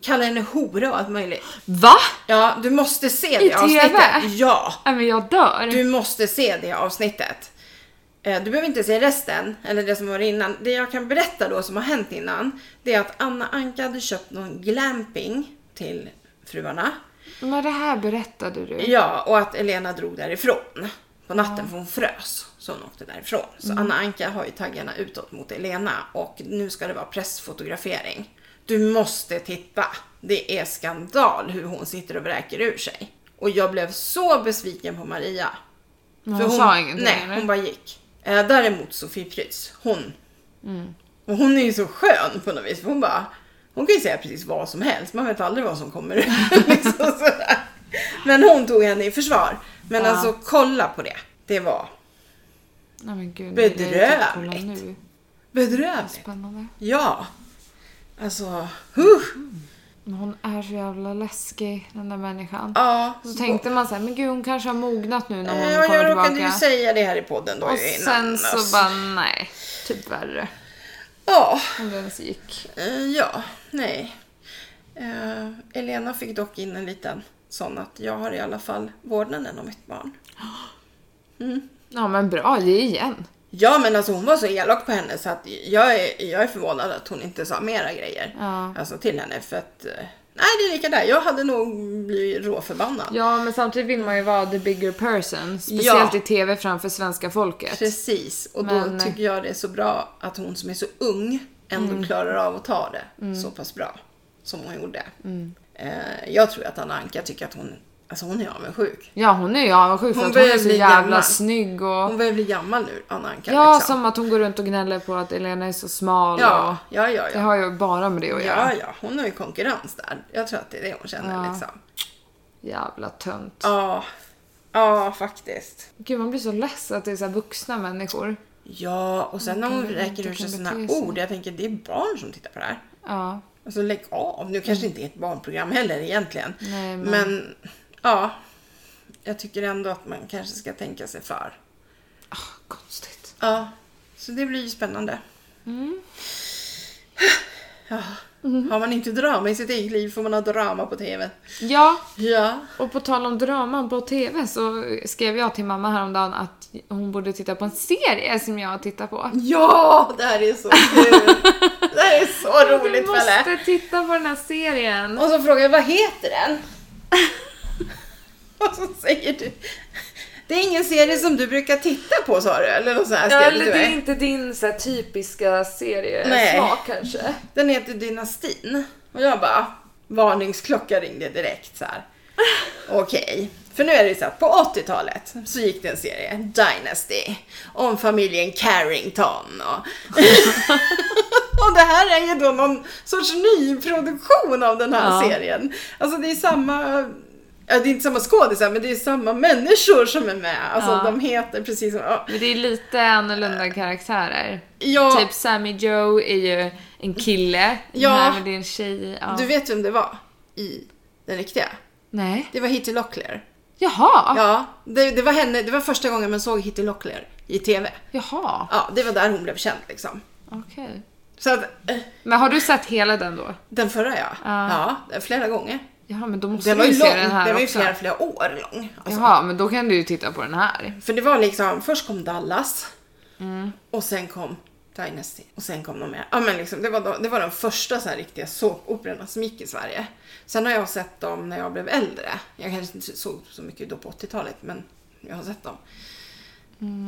[SPEAKER 3] Kallar henne hora och allt möjligt.
[SPEAKER 2] Va?
[SPEAKER 3] Ja, du måste se det
[SPEAKER 2] I TV?
[SPEAKER 3] avsnittet. Ja,
[SPEAKER 2] Nej men jag dör.
[SPEAKER 3] du måste se det avsnittet. Eh, Du behöver inte se resten, eller det som var innan. Det jag kan berätta då som har hänt innan, det är att Anna Anka hade köpt någon glamping till fruarna.
[SPEAKER 2] Men det här berättade du.
[SPEAKER 3] Ja, och att Elena drog därifrån på natten för hon frös. Så hon åkte därifrån.
[SPEAKER 2] Mm.
[SPEAKER 3] Så Anna Anka har ju taggarna utåt mot Elena och nu ska det vara pressfotografering. Du måste titta! Det är skandal hur hon sitter och vräker ur sig. Och jag blev så besviken på Maria.
[SPEAKER 2] Men
[SPEAKER 3] För
[SPEAKER 2] hon, sa ingenting
[SPEAKER 3] Nej,
[SPEAKER 2] eller?
[SPEAKER 3] hon bara gick. Eh, däremot Sofie Prytz, hon. Och hon är ju så skön på något vis. För hon bara, hon kan ju säga precis vad som helst. Man vet aldrig vad som kommer ut. liksom sådär. Men hon tog henne i försvar. Men
[SPEAKER 2] Ja.
[SPEAKER 3] alltså kolla på det. Det var
[SPEAKER 2] Nej men gud, det är lite att kolla
[SPEAKER 3] Bedrövligt.
[SPEAKER 2] nu.
[SPEAKER 3] bedrövligt.
[SPEAKER 2] Spännande.
[SPEAKER 3] Ja. Alltså, huh.
[SPEAKER 2] Men hon är så jävla läskig, den där människan.
[SPEAKER 3] Ja. Eh,
[SPEAKER 2] Så tänkte man så här, men gud hon kanske har mognat nu när hon
[SPEAKER 3] Ja,
[SPEAKER 2] kommer
[SPEAKER 3] jag råkade ju
[SPEAKER 2] tillbaka.
[SPEAKER 3] säga det här i podden då
[SPEAKER 2] och
[SPEAKER 3] ju innan.
[SPEAKER 2] sen så
[SPEAKER 3] alltså.
[SPEAKER 2] bara, nej. Typ värre.
[SPEAKER 3] Ja.
[SPEAKER 2] Om det ens gick.
[SPEAKER 3] Eh, ja, nej. Eh, Elena fick dock in en liten sån att jag har i alla fall vårdnaden om mitt barn.
[SPEAKER 2] Ja men bra, ge igen.
[SPEAKER 3] Ja men alltså hon var så elak på henne så att jag är, jag är förvånad att hon inte sa mera grejer.
[SPEAKER 2] Ja.
[SPEAKER 3] Alltså till henne för att eh, Nej det är lika där, jag hade nog blivit råförbannad.
[SPEAKER 2] Ja men samtidigt vill man ju vara the bigger person. Speciellt
[SPEAKER 3] Ja.
[SPEAKER 2] i TV framför svenska folket.
[SPEAKER 3] Precis, och
[SPEAKER 2] Men-
[SPEAKER 3] då tycker jag det är så bra att hon som är så ung ändå
[SPEAKER 2] Mm.
[SPEAKER 3] klarar av att ta det så pass bra som hon gjorde.
[SPEAKER 2] Mm.
[SPEAKER 3] Eh, jag tror att Anna Anka tycker att hon, alltså hon är avundsjuk.
[SPEAKER 2] Ja hon är ju avundsjuk för
[SPEAKER 3] Hon
[SPEAKER 2] att hon är
[SPEAKER 3] börjar
[SPEAKER 2] så
[SPEAKER 3] bli
[SPEAKER 2] jävla
[SPEAKER 3] gammal.
[SPEAKER 2] snygg och...
[SPEAKER 3] Hon börjar bli gammal nu, Anna Anka.
[SPEAKER 2] ja
[SPEAKER 3] liksom.
[SPEAKER 2] som att hon går runt och gnäller på att Elena är så smal
[SPEAKER 3] ja,
[SPEAKER 2] och...
[SPEAKER 3] ja, ja,
[SPEAKER 2] Det
[SPEAKER 3] ja.
[SPEAKER 2] har ju bara med det att göra.
[SPEAKER 3] Ja, ja, hon har ju konkurrens där. Jag tror att det är det hon känner
[SPEAKER 2] Ja.
[SPEAKER 3] liksom.
[SPEAKER 2] Jävla tönt.
[SPEAKER 3] Ja, ja faktiskt.
[SPEAKER 2] Gud man blir så less att det är så här vuxna människor.
[SPEAKER 3] Ja, och sen när hon
[SPEAKER 2] kan-
[SPEAKER 3] räcker ur
[SPEAKER 2] kan
[SPEAKER 3] sig
[SPEAKER 2] bete
[SPEAKER 3] sådana
[SPEAKER 2] sig.
[SPEAKER 3] ord, jag tänker det är barn som tittar på det här.
[SPEAKER 2] Ja.
[SPEAKER 3] Alltså lägg av. Nu kanske inte är ett barnprogram heller egentligen.
[SPEAKER 2] Mm. Nej, men-
[SPEAKER 3] men... ja, jag tycker ändå att man kanske ska tänka sig för.
[SPEAKER 2] Ah, Konstigt.
[SPEAKER 3] Ja, så det blir ju spännande.
[SPEAKER 2] Mm.
[SPEAKER 3] Ja. Har man inte drama i sitt eget liv får man ha drama på TV.
[SPEAKER 2] Ja,
[SPEAKER 3] Ja.
[SPEAKER 2] och på tal om draman på TV så skrev jag till mamma häromdagen att hon borde titta på en serie som jag tittar på.
[SPEAKER 3] Ja! Det här är så kul! det här är så
[SPEAKER 2] Du
[SPEAKER 3] roligt Pelle!
[SPEAKER 2] måste titta på den här serien.
[SPEAKER 3] Och så frågar jag vad heter den? Och så säger du Det är ingen serie som du brukar titta på sa du eller något sånt här
[SPEAKER 2] Ja,
[SPEAKER 3] skrev
[SPEAKER 2] eller
[SPEAKER 3] du till
[SPEAKER 2] det är
[SPEAKER 3] mig.
[SPEAKER 2] inte din så här, typiska
[SPEAKER 3] Nej.
[SPEAKER 2] seriesmak kanske.
[SPEAKER 3] Den heter Dynastin. Och jag bara varningsklocka ringde direkt så här. Okej. För nu är det ju så att på 80-talet så gick det en serie, Dynasty, om familjen Carrington och... och det här är ju då någon sorts nyproduktion av den här
[SPEAKER 2] Ja.
[SPEAKER 3] serien. Alltså det är samma, ja, det är inte samma skådisar men det är samma människor som är med. Alltså
[SPEAKER 2] Ja.
[SPEAKER 3] de heter precis som, ja,
[SPEAKER 2] Men det är lite annorlunda karaktärer.
[SPEAKER 3] ja
[SPEAKER 2] Typ Sammy Joe är ju en kille.
[SPEAKER 3] Ja.
[SPEAKER 2] Nej, men det är en tjej. Ja.
[SPEAKER 3] du vet vem det var i den riktiga?
[SPEAKER 2] Nej.
[SPEAKER 3] Det var Hitty Locklear.
[SPEAKER 2] Jaha.
[SPEAKER 3] Ja, det, det var henne, det var första gången man såg Hitty Locklear i TV.
[SPEAKER 2] Jaha.
[SPEAKER 3] Ja, det var där hon blev känd liksom.
[SPEAKER 2] Okej.
[SPEAKER 3] Så att, eh,
[SPEAKER 2] Men har du sett hela den då?
[SPEAKER 3] den förra ja.
[SPEAKER 2] Ja.
[SPEAKER 3] Ja, flera gånger.
[SPEAKER 2] Ja, men då måste
[SPEAKER 3] Den
[SPEAKER 2] du
[SPEAKER 3] var
[SPEAKER 2] ju
[SPEAKER 3] ju
[SPEAKER 2] se
[SPEAKER 3] lång,
[SPEAKER 2] den här
[SPEAKER 3] den var ju
[SPEAKER 2] också.
[SPEAKER 3] flera, flera år lång. Alltså.
[SPEAKER 2] Jaha, men då kan du ju titta på den här.
[SPEAKER 3] För det var liksom, först kom Dallas.
[SPEAKER 2] Mm.
[SPEAKER 3] Och sen kom Dynasty. Och sen kom de mer. Ja men liksom, det var, de, det var de första så här riktiga såpoperorna som gick i Sverige. Sen har jag sett dem när jag blev äldre. Jag kanske inte såg så mycket då på 80-talet men jag har sett dem.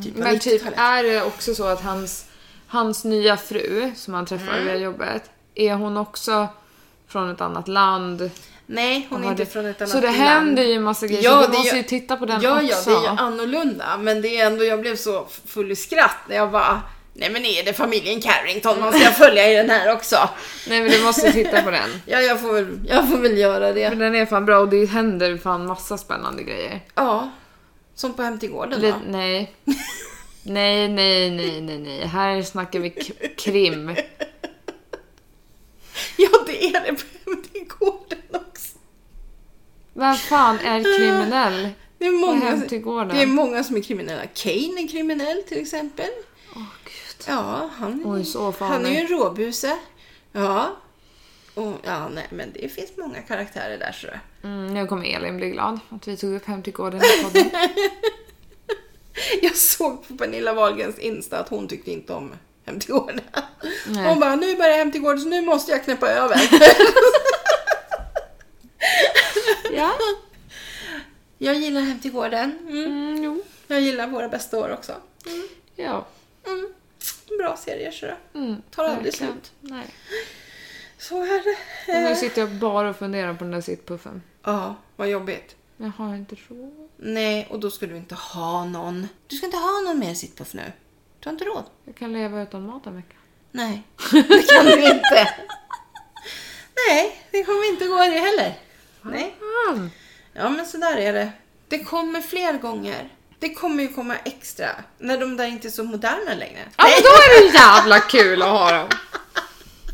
[SPEAKER 3] Typ på
[SPEAKER 2] Men typ
[SPEAKER 3] 90-talet.
[SPEAKER 2] är det också så att hans, hans nya fru som han träffar
[SPEAKER 3] Mm.
[SPEAKER 2] via jobbet, är hon också från ett annat land?
[SPEAKER 3] Nej, hon är
[SPEAKER 2] Har
[SPEAKER 3] inte
[SPEAKER 2] det-
[SPEAKER 3] från ett annat
[SPEAKER 2] Så det
[SPEAKER 3] land.
[SPEAKER 2] händer ju massa grejer,
[SPEAKER 3] Ja,
[SPEAKER 2] så du
[SPEAKER 3] det är
[SPEAKER 2] måste
[SPEAKER 3] ju-
[SPEAKER 2] ju titta på den
[SPEAKER 3] ja,
[SPEAKER 2] också.
[SPEAKER 3] Ja, det är ju annorlunda. Men det är ändå, jag blev så full i skratt när jag bara Nej men är det familjen Carrington man ska följa i den här också?
[SPEAKER 2] Nej men du måste titta på den.
[SPEAKER 3] Ja, jag får väl, jag får väl göra
[SPEAKER 2] För
[SPEAKER 3] det.
[SPEAKER 2] den är fan bra och det händer fan massa spännande grejer.
[SPEAKER 3] Ja. Som på Hem till gården
[SPEAKER 2] Li-
[SPEAKER 3] då.
[SPEAKER 2] nej. Nej, nej, nej, nej, nej. Här snackar vi k- krim.
[SPEAKER 3] Ja, det är det på Hem till gården också.
[SPEAKER 2] Vem fan är kriminell?
[SPEAKER 3] Det är många,
[SPEAKER 2] Hem till gården.
[SPEAKER 3] Det är många som är kriminella. Kane är kriminell till exempel.
[SPEAKER 2] Åh gud.
[SPEAKER 3] Ja, han,
[SPEAKER 2] Oj, så fan.
[SPEAKER 3] han är ju en råbuse. Ja. Och, ja, nej men det finns många karaktärer där så.
[SPEAKER 2] Mm, nu kommer Elin bli glad att vi tog upp Hem till gården i podden.
[SPEAKER 3] Jag såg på Pernilla Wahlgrens Insta att hon tyckte inte om Hem till gården.
[SPEAKER 2] Nej.
[SPEAKER 3] Hon bara, nu börjar Hem till gården så nu måste jag knäppa över.
[SPEAKER 2] Ja.
[SPEAKER 3] jag gillar Hem till gården. Mm.
[SPEAKER 2] Mm, jo.
[SPEAKER 3] Jag gillar Våra bästa år också.
[SPEAKER 2] Ja.
[SPEAKER 3] Mm. Bra serier så.
[SPEAKER 2] Mm,
[SPEAKER 3] Tar aldrig
[SPEAKER 2] verkligen.
[SPEAKER 3] slut.
[SPEAKER 2] Nej.
[SPEAKER 3] Så är det.
[SPEAKER 2] Men nu sitter jag bara och funderar på den där sittpuffen.
[SPEAKER 3] Ja, vad jobbigt.
[SPEAKER 2] Jag har inte råd.
[SPEAKER 3] Nej, och då ska du inte ha någon. Du ska inte ha någon mer sittpuff nu. Du har inte råd.
[SPEAKER 2] Jag kan leva utan mat en vecka.
[SPEAKER 3] Nej, det kan du inte. Nej, det kommer inte gå det heller. Nej.
[SPEAKER 2] Fan.
[SPEAKER 3] Ja, men så där är det. Det kommer fler gånger. Det kommer ju komma extra när de där inte är så moderna längre.
[SPEAKER 2] Ja men då är det jävla kul att ha dem.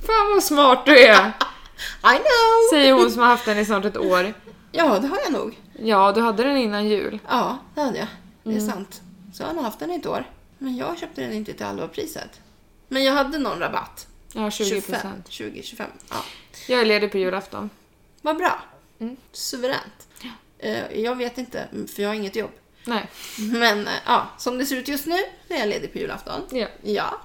[SPEAKER 2] Fan vad smart du är.
[SPEAKER 3] I know!
[SPEAKER 2] Säger hon som har haft den i snart ett år.
[SPEAKER 3] Ja, det har jag nog.
[SPEAKER 2] Ja, du hade den innan jul.
[SPEAKER 3] Ja, det hade jag. Det är sant. Så jag har nog haft den i ett år. Men jag köpte den inte till halva priset. Men jag hade någon rabatt.
[SPEAKER 2] Ja, 20
[SPEAKER 3] 25,
[SPEAKER 2] procent.
[SPEAKER 3] 20, 25. Ja.
[SPEAKER 2] Jag är ledig på julafton.
[SPEAKER 3] Vad bra. Suveränt. Eh, Jag vet inte, för jag har inget jobb.
[SPEAKER 2] Nej.
[SPEAKER 3] Men eh, ja, som det ser ut just nu när jag är ledig på julafton.
[SPEAKER 2] Ja.
[SPEAKER 3] Ja.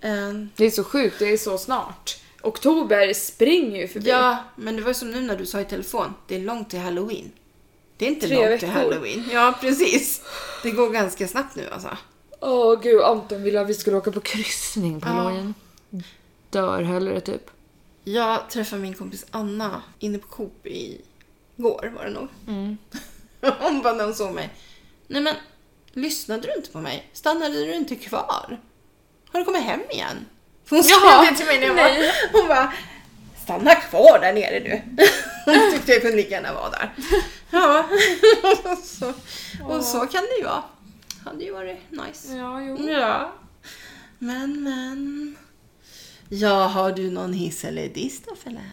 [SPEAKER 3] Eh,
[SPEAKER 2] Det är så sjukt, det är så snart. Oktober springer ju förbi.
[SPEAKER 3] Ja, men det var som nu när du sa i telefon. Det är långt till halloween. Det är inte
[SPEAKER 2] Tre
[SPEAKER 3] långt till
[SPEAKER 2] veckor.
[SPEAKER 3] halloween. Ja, precis. Det går ganska snabbt nu alltså.
[SPEAKER 2] Åh gud, Anton ville att vi skulle åka på kryssning på
[SPEAKER 3] Ja.
[SPEAKER 2] halloween. Dör hellre typ.
[SPEAKER 3] Jag träffade min kompis Anna inne på Coop i går var det nog.
[SPEAKER 2] Mm.
[SPEAKER 3] Hon bara när hon såg mig. Nej men, lyssnade du inte på mig? Stannade du inte kvar? Har du kommit hem igen? För Hon
[SPEAKER 2] Jaha,
[SPEAKER 3] skrev det till mig när jag
[SPEAKER 2] nej.
[SPEAKER 3] var... Hon bara, stanna kvar där nere du. Hon tyckte jag kunde lika gärna vara där. Ja, och så, och så kan det ju vara. Hade ju varit nice.
[SPEAKER 2] Ja, jo.
[SPEAKER 3] Ja. Men, men. Ja, har du någon hiss eller diss då Felle?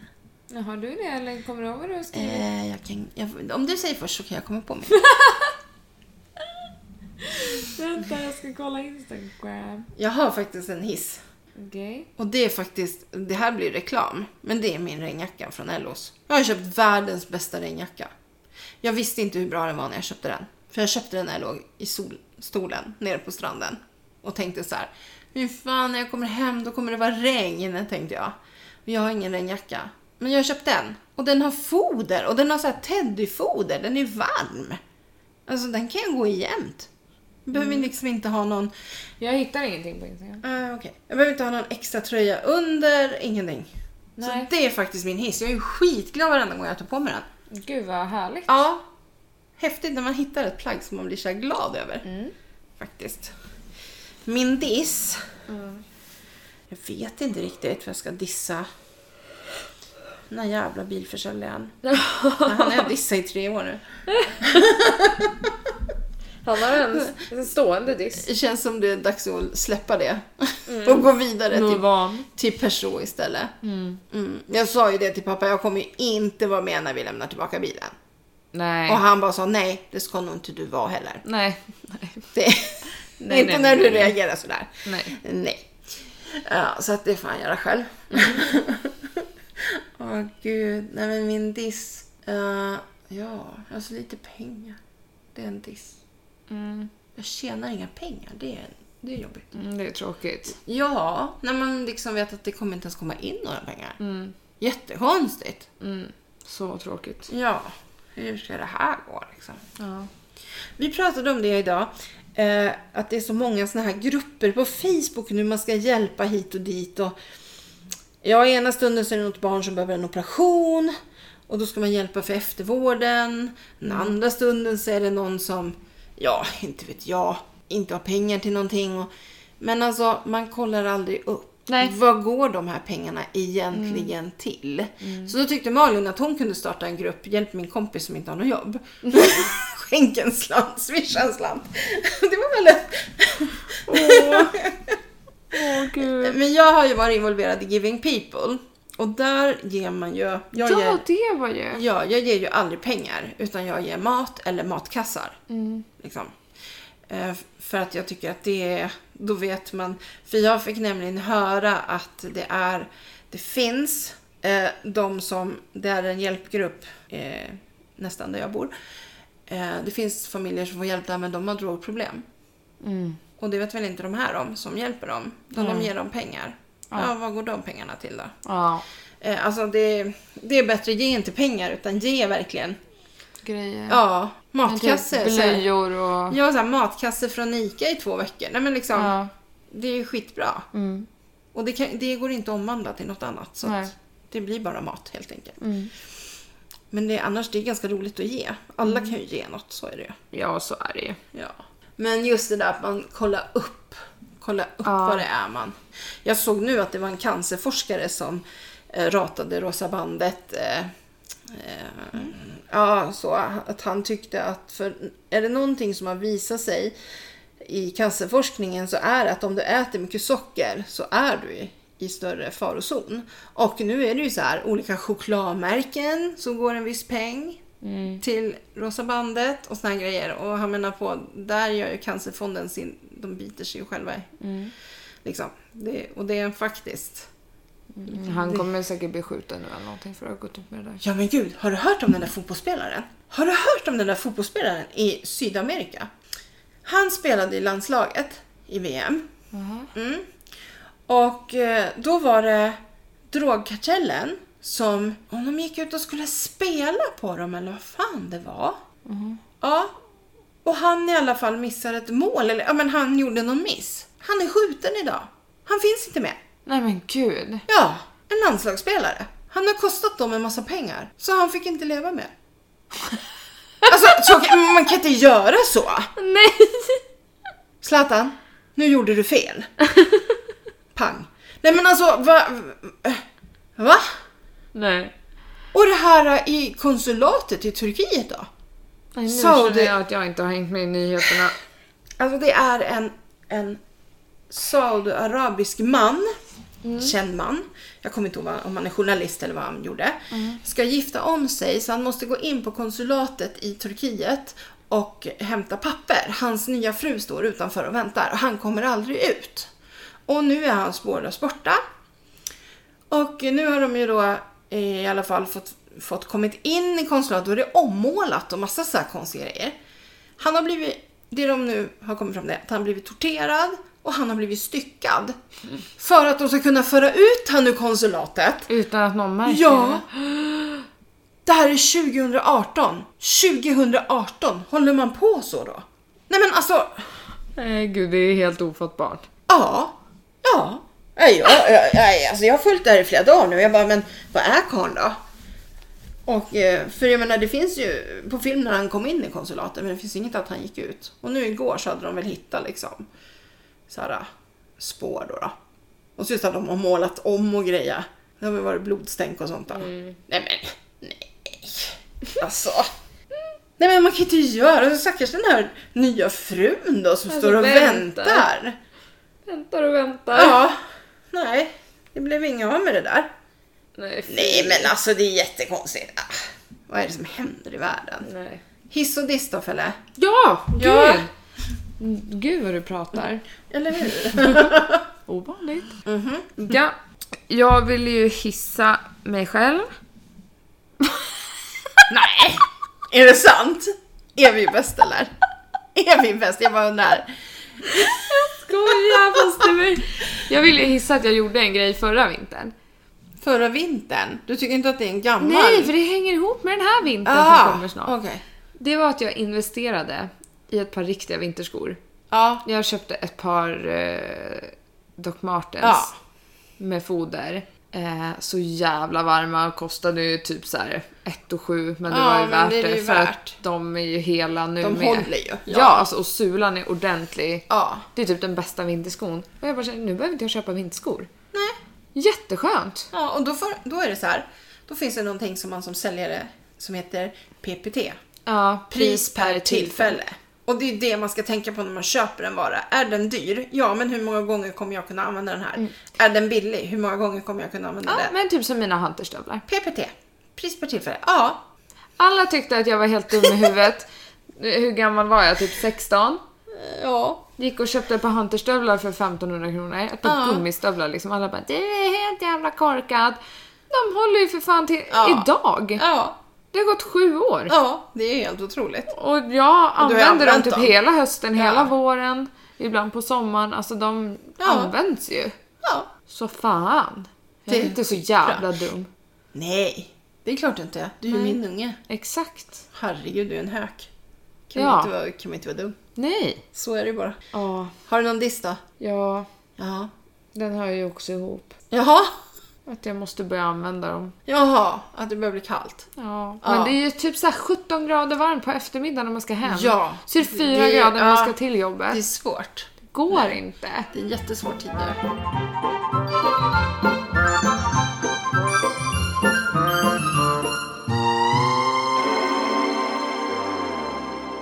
[SPEAKER 2] Har du det eller kommer du ihåg vad du skrev?
[SPEAKER 3] Eh, jag kan, jag, om du säger först så kan jag komma på mig.
[SPEAKER 2] Vänta, jag ska kolla Instagram.
[SPEAKER 3] Jag har faktiskt en hiss.
[SPEAKER 2] Okej.
[SPEAKER 3] Och det är faktiskt, det här blir reklam, men det är min regnjacka från Ellos. Jag har köpt världens bästa regnjacka. Jag visste inte hur bra den var när jag köpte den. För jag köpte den när jag låg i solstolen nere på stranden. Och tänkte så här, hur fan när jag kommer hem då kommer det vara regn, tänkte jag. Men jag har ingen regnjacka. Men jag har köpt den. Och den har foder och den har så här teddyfoder, den är varm. Alltså den kan jag gå i jämt. Behöver liksom inte ha någon
[SPEAKER 2] Jag hittar ingenting på Instagram.
[SPEAKER 3] Ah, okej. Jag behöver inte ha någon extra tröja under, ingenting.
[SPEAKER 2] Nej.
[SPEAKER 3] Så det är faktiskt min hiss. Jag är skitglad varenda gång jag tar på mig den.
[SPEAKER 2] Gud vad härligt.
[SPEAKER 3] Ja. Häftigt när man hittar ett plagg som man blir så här glad över. Faktiskt. Min diss. Mm. Jag vet inte riktigt vad jag ska dissa. Den här jävla bilförsäljaren. Han har jag dissat i tre år nu.
[SPEAKER 2] Han har en, en stående diss.
[SPEAKER 3] Det känns som det är dags att släppa det. Och gå vidare till
[SPEAKER 2] Mm. van.
[SPEAKER 3] till Peugeot istället. Mm. Jag sa ju det till pappa, jag kommer ju inte vara med när vi lämnar tillbaka bilen.
[SPEAKER 2] Nej.
[SPEAKER 3] Och han bara sa nej, det ska nog inte du vara heller.
[SPEAKER 2] Nej. Nej.
[SPEAKER 3] Det,
[SPEAKER 2] Nej,
[SPEAKER 3] inte
[SPEAKER 2] nej,
[SPEAKER 3] när
[SPEAKER 2] nej,
[SPEAKER 3] du
[SPEAKER 2] nej.
[SPEAKER 3] reagerar sådär.
[SPEAKER 2] Nej.
[SPEAKER 3] Nej. Ja, så att det får han göra själv.
[SPEAKER 2] Mm.
[SPEAKER 3] Åh gud, nej men min diss. Eh, ja, alltså lite pengar. Det är en diss.
[SPEAKER 2] Mm.
[SPEAKER 3] Jag tjänar inga pengar, det är, det är jobbigt.
[SPEAKER 2] Mm, det är tråkigt.
[SPEAKER 3] Ja, när man liksom vet att det kommer inte ens komma in några pengar. Jättekonstigt.
[SPEAKER 2] Mm. Så tråkigt.
[SPEAKER 3] Ja, hur ska det här gå liksom?
[SPEAKER 2] Ja.
[SPEAKER 3] Vi pratade om det idag. Eh, att det är så många såna här grupper på Facebook nu. Man ska hjälpa hit och dit. Och, ja, ena stunden så är det något barn som behöver en operation. Och då ska man hjälpa för eftervården. Den andra stunden så är det någon som, ja, inte vet jag, inte har pengar till någonting. Och, men alltså, man kollar aldrig upp.
[SPEAKER 2] Nej.
[SPEAKER 3] Vad går de här pengarna egentligen till? Så då tyckte Malin att hon kunde starta en grupp, hjälp min kompis som inte har något jobb. Skänk en slant, swisha en slant. Det var väl
[SPEAKER 2] Åh. Åh gud.
[SPEAKER 3] Eh, Men jag har ju varit involverad i Giving People. Och där ger man ju... Jag,
[SPEAKER 2] Ja,
[SPEAKER 3] ger,
[SPEAKER 2] det var ju.
[SPEAKER 3] ja, jag ger ju aldrig pengar, utan jag ger mat eller matkassar. Liksom. Eh, f- För att jag tycker att det är... Då vet man... För jag fick nämligen höra att det är... Det finns eh, de som... Det är en hjälpgrupp eh, nästan där jag bor. Eh, det finns familjer som får hjälp där, men de har drogproblem.
[SPEAKER 2] Mm.
[SPEAKER 3] Och det vet väl inte de här om som hjälper dem. Då de ger dem pengar. Ja. vad går de pengarna till då?
[SPEAKER 2] Ja.
[SPEAKER 3] Eh, alltså det, det är bättre, ge inte pengar utan ge verkligen.
[SPEAKER 2] Grejer.
[SPEAKER 3] Ja,
[SPEAKER 2] Men typ
[SPEAKER 3] matkasse. så här-
[SPEAKER 2] Blöjor och...
[SPEAKER 3] Ja, så här, matkasse från Ica i två veckor. Nej men liksom,
[SPEAKER 2] Ja.
[SPEAKER 3] det är ju skitbra.
[SPEAKER 2] Mm.
[SPEAKER 3] Och det, kan, det går inte att omvandla till något annat. Så
[SPEAKER 2] Nej.
[SPEAKER 3] att det blir bara mat helt enkelt.
[SPEAKER 2] Mm.
[SPEAKER 3] Men det, annars det är ganska roligt att ge. Alla
[SPEAKER 2] Mm.
[SPEAKER 3] kan ju ge något, så är det ju.
[SPEAKER 2] Ja, så är det ju.
[SPEAKER 3] Ja. Men just det där att man kollar upp. Kolla upp
[SPEAKER 2] Ja.
[SPEAKER 3] vad det är man. Jag såg nu att det var en cancerforskare som eh, ratade Rosa bandet. Eh, eh, Ja, så att han tyckte att för är det någonting som har visat sig i cancerforskningen så är det att om du äter mycket socker så är du i, i större farozon. Och nu är det ju så här olika chokladmärken som går en viss peng till Rosa bandet och såna här grejer. Och han menar på, där gör ju Cancerfonden sin, de biter sig ju själva i. Liksom. Det, och det är en faktiskt.
[SPEAKER 2] Mm, Han kommer säkert bli skjuten nu eller någonting för att ha gått ut med det där.
[SPEAKER 3] Ja men gud, har du hört om den där fotbollsspelaren? Har du hört om den där fotbollsspelaren i Sydamerika? Han spelade i landslaget i VM.
[SPEAKER 2] Jaha.
[SPEAKER 3] Mm. Och eh, då var det drogkartellen som, om de gick ut och skulle spela på dem eller vad fan det var. Ja. Och han i alla fall missar ett mål, eller ja men han gjorde någon miss. Han är skjuten idag. Han finns inte med.
[SPEAKER 2] Nej men gud.
[SPEAKER 3] Ja, en landslagsspelare. Han har kostat dem en massa pengar, så han fick inte leva mer. Alltså, så, man kan inte göra så.
[SPEAKER 2] Nej!
[SPEAKER 3] Zlatan, nu gjorde du fel. Pang. Nej men alltså, va? va?
[SPEAKER 2] Nej.
[SPEAKER 3] Och det här eh, i konsulatet i Turkiet då?
[SPEAKER 2] Nej, nu
[SPEAKER 3] Så
[SPEAKER 2] känner
[SPEAKER 3] det-
[SPEAKER 2] jag att jag inte har hängt med i nyheterna.
[SPEAKER 3] Alltså det är en, en saudiarabisk man, känd man, jag kommer inte ihåg vad- om han är journalist eller vad han gjorde, ska gifta om sig så han måste gå in på konsulatet i Turkiet och hämta papper. Hans nya fru står utanför och väntar och han kommer aldrig ut. Och nu är hans båda borta. Och nu har de ju då eh, i alla fall fått, fått kommit in i konsulatet och det är ommålat och massa så här konstiga grejer. Han har blivit, det de nu har kommit fram till, är att han har blivit torterad och han har blivit styckad. För att de ska kunna föra ut han ur konsulatet.
[SPEAKER 2] Utan att någon märker
[SPEAKER 3] Ja. Det här är 2018. 2018! Håller man på så då? Nej men alltså,
[SPEAKER 2] det. Nej, gud, det är helt ofattbart.
[SPEAKER 3] ja. Ja. Nej, jag, jag, jag, alltså jag har följt det här i flera dagar nu. Jag bara, men vad är karln då? Och, eh, för jag menar, det finns ju på film när han kom in i konsulatet, men det finns inget att han gick ut. Och nu igår så hade de väl hittat liksom så här, eh, spår då. då. Och så just att de har målat om och grejer. Det har väl varit blodstänk och sånt där. Nej men, nej. Alltså. Nej men man kan inte göra så. Stackars den här nya frun då som
[SPEAKER 2] Alltså,
[SPEAKER 3] står och
[SPEAKER 2] väntar.
[SPEAKER 3] väntar.
[SPEAKER 2] Väntar och väntar.
[SPEAKER 3] Ja. Nej, det blev inget av med det där.
[SPEAKER 2] Nej, fy.
[SPEAKER 3] Nej men alltså det är jättekonstigt. Ah, Vad är det som händer i världen?
[SPEAKER 2] Nej.
[SPEAKER 3] Hiss och diss då Felle?
[SPEAKER 2] Ja, gud!
[SPEAKER 3] Ja.
[SPEAKER 2] Gud vad du pratar.
[SPEAKER 3] Eller hur?
[SPEAKER 2] Ovanligt. Ja, Mhm. jag vill ju hissa mig själv.
[SPEAKER 3] Nej! Är det sant? Är vi bäst eller? Är vi bäst? Jag bara undrar.
[SPEAKER 2] Skoja, fast det var... Jag vill ju hissa att jag gjorde en grej förra vintern.
[SPEAKER 3] Förra vintern? Du tycker inte att det är en gammal?
[SPEAKER 2] Nej, för det hänger ihop med den här vintern som kommer snart.
[SPEAKER 3] Okej.
[SPEAKER 2] Det var att jag investerade i ett par riktiga vinterskor.
[SPEAKER 3] Ja.
[SPEAKER 2] Jag köpte ett par eh, Doc Martens
[SPEAKER 3] Ja.
[SPEAKER 2] med foder. Eh, så jävla varma och kostade ju typ så här 1 och 7 men det
[SPEAKER 3] Ja,
[SPEAKER 2] var ju
[SPEAKER 3] men
[SPEAKER 2] värt
[SPEAKER 3] det
[SPEAKER 2] det,
[SPEAKER 3] är det ju
[SPEAKER 2] för
[SPEAKER 3] värt.
[SPEAKER 2] att de är ju hela nu
[SPEAKER 3] De
[SPEAKER 2] med.
[SPEAKER 3] håller ju.
[SPEAKER 2] Ja,
[SPEAKER 3] Ja.
[SPEAKER 2] alltså, och sulan är ordentlig.
[SPEAKER 3] Ja.
[SPEAKER 2] Det är typ den bästa vinterskon. Och jag bara känner, nu behöver inte jag köpa vinterskor.
[SPEAKER 3] Nej.
[SPEAKER 2] Jätteskönt!
[SPEAKER 3] Ja, och då, får, då är det så här. Då finns det någonting som man som säljare som heter PPT.
[SPEAKER 2] Ja,
[SPEAKER 3] pris per tillfälle. Och det är det man ska tänka på när man köper en vara. Är den dyr? Ja, men hur många gånger kommer jag kunna använda den här? Är den billig? Hur många gånger kommer jag kunna använda
[SPEAKER 2] Ja,
[SPEAKER 3] den?
[SPEAKER 2] men typ som mina hunterstövlar.
[SPEAKER 3] PPT. Pris per tillfälle. Ja.
[SPEAKER 2] Alla tyckte att jag var helt dum i huvudet. Hur gammal var jag? Typ 16?
[SPEAKER 3] Ja.
[SPEAKER 2] Gick och köpte ett par hunterstövlar för 1500 kronor. Ett par
[SPEAKER 3] Ja.
[SPEAKER 2] gummistövlar liksom. Alla bara du är helt jävla korkad. De håller ju för fan till
[SPEAKER 3] Ja.
[SPEAKER 2] idag.
[SPEAKER 3] Ja.
[SPEAKER 2] Det har gått sju år.
[SPEAKER 3] Ja, det är helt otroligt.
[SPEAKER 2] Och jag använder dem
[SPEAKER 3] använt
[SPEAKER 2] typ
[SPEAKER 3] dem.
[SPEAKER 2] hela hösten,
[SPEAKER 3] Ja.
[SPEAKER 2] hela våren, ibland på sommaren. Alltså de
[SPEAKER 3] Ja.
[SPEAKER 2] används ju.
[SPEAKER 3] Ja.
[SPEAKER 2] Så fan. Jag är
[SPEAKER 3] Det-
[SPEAKER 2] inte så jävla dum.
[SPEAKER 3] Nej, det är klart du inte är. Du är ju min unge.
[SPEAKER 2] Exakt.
[SPEAKER 3] Herregud, du är en hök. Kan,
[SPEAKER 2] Ja.
[SPEAKER 3] man inte vara, kan man inte vara dum?
[SPEAKER 2] Nej.
[SPEAKER 3] Så är det ju bara.
[SPEAKER 2] Ja,
[SPEAKER 3] Har du någon diss då?
[SPEAKER 2] ja,
[SPEAKER 3] Ja.
[SPEAKER 2] den hör ju också ihop.
[SPEAKER 3] Jaha?
[SPEAKER 2] Att jag måste börja använda dem.
[SPEAKER 3] Jaha, att det börjar bli kallt.
[SPEAKER 2] Ja,
[SPEAKER 3] Ja.
[SPEAKER 2] men det är ju typ så här 17 grader varmt på eftermiddagen när man ska hem.
[SPEAKER 3] Ja.
[SPEAKER 2] Så det är 4
[SPEAKER 3] Det-
[SPEAKER 2] grader när man
[SPEAKER 3] ja.
[SPEAKER 2] ska till jobbet.
[SPEAKER 3] Det är
[SPEAKER 2] Det
[SPEAKER 3] svårt.
[SPEAKER 2] går inte.
[SPEAKER 3] Det är en jättesvår tid nu.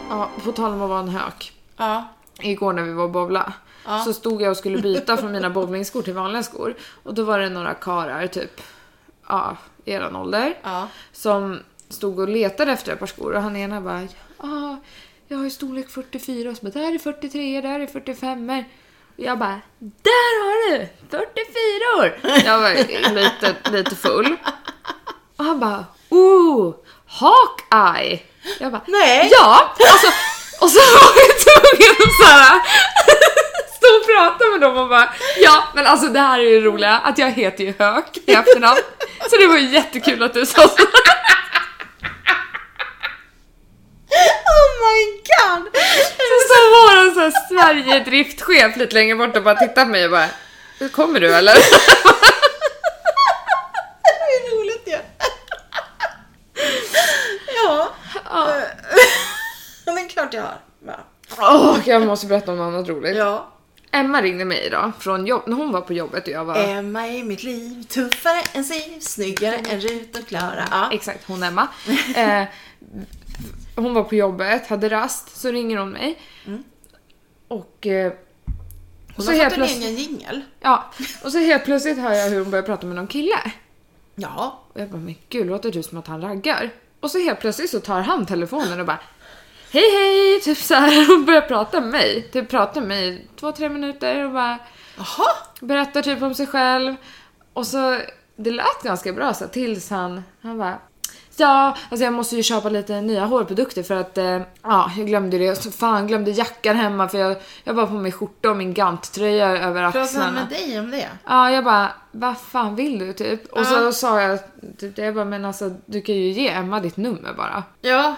[SPEAKER 2] Ja, på tal om att vara en hök.
[SPEAKER 3] Ja.
[SPEAKER 2] Igår när vi var och bowla så stod jag och skulle byta från mina bowlingskor till vanliga skor. Och då var det några karar typ, ja, i eran ålder.
[SPEAKER 3] Ja.
[SPEAKER 2] Som stod och letade efter ett par skor och han ena bara ja, jag har ju storlek 44 och så bara, där är 43 där är 45 och jag bara där har du 44 år. Jag var lite, lite full. Och han bara oh, Hawkeye. Jag bara
[SPEAKER 3] Nej.
[SPEAKER 2] Ja! Och så, och så var jag tvungen att såhär stå och prata med dem och bara ja men alltså det här är ju roliga att jag heter ju Hök i efternamn. Så det var ju jättekul att du sa så.
[SPEAKER 3] Oh my god!
[SPEAKER 2] Och så var han såhär Sverige-driftchef lite längre bort och bara tittade på mig och bara "Hur Kommer du eller?
[SPEAKER 3] Det är roligt ju. Ja.
[SPEAKER 2] Ja.
[SPEAKER 3] Men det är klart jag har. Ja.
[SPEAKER 2] Åh, jag måste berätta om något annat roligt.
[SPEAKER 3] ja.
[SPEAKER 2] Emma ringde mig idag från jobb, när hon var på jobbet och jag var...
[SPEAKER 3] Emma i mitt liv, tuffare än Siv, snyggare än Rut och Klara. Ja.
[SPEAKER 2] Exakt, hon Emma. Eh, hon var på jobbet, hade rast, så ringer hon mig. Och... Eh,
[SPEAKER 3] Mm. Hon
[SPEAKER 2] så
[SPEAKER 3] har
[SPEAKER 2] helt
[SPEAKER 3] fått en
[SPEAKER 2] plötsligt,
[SPEAKER 3] egen jingel.
[SPEAKER 2] ja, och så helt plötsligt hör jag hur hon börjar prata med någon kille.
[SPEAKER 3] Ja.
[SPEAKER 2] Och jag bara, men gud låter det som att han raggar? Och så helt plötsligt så tar han telefonen och bara Hej hej! Typ så här och börjar prata med mig. Typ prata med mig i två, tre minuter och bara
[SPEAKER 3] Jaha!
[SPEAKER 2] Berättar typ om sig själv. Och så, det lät ganska bra så här, tills han, han bara Ja, alltså jag måste ju köpa lite nya hårprodukter för att eh, ja, jag glömde det. Så fan, glömde jackan hemma för jag, jag var på min skjorta och min Gant-tröja över
[SPEAKER 3] Pratade han
[SPEAKER 2] axlarna.
[SPEAKER 3] med dig om det?
[SPEAKER 2] Ja, jag bara, vad fan vill du typ? Och
[SPEAKER 3] Ja.
[SPEAKER 2] så sa jag typ det, jag bara, men alltså du kan ju ge Emma ditt nummer bara.
[SPEAKER 3] Ja.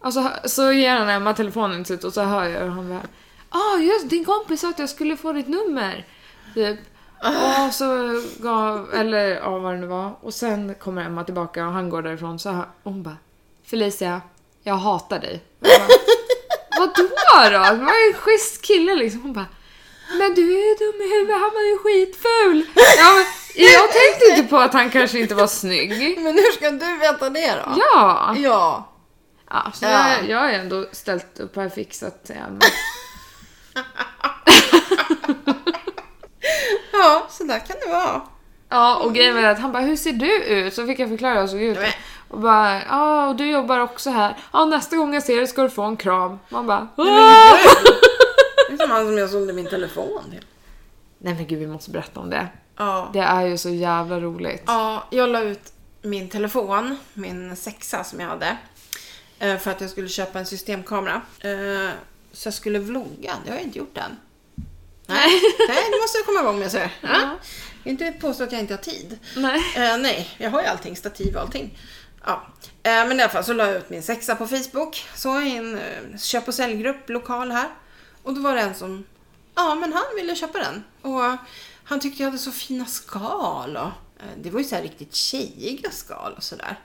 [SPEAKER 2] Alltså så ger han Emma telefonen till slut och så hör jag hur han bara, ah just din kompis sa att jag skulle få ditt nummer. Typ. Och så gav, eller ja vad det nu var. Och sen kommer Emma tillbaka och han går därifrån så hör, och hon bara, Felicia, jag hatar dig. Och jag bara, Vadå då? Han var en schysst kille liksom. Hon bara, men du är ju dum i huvudet, han var ju skitful. Ja, men, jag tänkte inte på att han kanske inte var snygg.
[SPEAKER 3] Men hur ska du veta det då?
[SPEAKER 2] Ja.
[SPEAKER 3] Ja.
[SPEAKER 2] Ja, så
[SPEAKER 3] Ja.
[SPEAKER 2] Jag, jag har ändå ställt upp här fixat till Emma.
[SPEAKER 3] Ja, så där kan det vara.
[SPEAKER 2] Ja, och grejen var att han bara “Hur ser du ut?” Så fick jag förklara hur jag såg ut.
[SPEAKER 3] Nej.
[SPEAKER 2] Och bara “Ja, och du jobbar också här. Ja, nästa gång jag ser dig ska du få en kram.” Man bara "Ah!" "Åh!"
[SPEAKER 3] Det är som han som jag sålde min telefon till.
[SPEAKER 2] Nej men gud, vi måste berätta om det.
[SPEAKER 3] Ja.
[SPEAKER 2] Det är ju så jävla roligt.
[SPEAKER 3] Ja, jag la ut min telefon, min sexa som jag hade. eh, För att jag skulle köpa en systemkamera. Eh, Så jag skulle vlogga, det har jag inte gjort än. Nej, Nej det måste jag komma igång med. Så. jag. Ja. Jag kan inte påstå att jag inte har tid.
[SPEAKER 2] Nej.
[SPEAKER 3] Eh, nej, jag har ju allting, stativ och allting. Ja. Eh, men i alla fall så la jag ut min sexa på Facebook. Så i en eh, köp och säljgrupp, lokal här. Och då var det en som, ja men han ville köpa den. Och eh, han tyckte jag hade så fina skal och eh, det var ju så här riktigt tjejiga skal och sådär.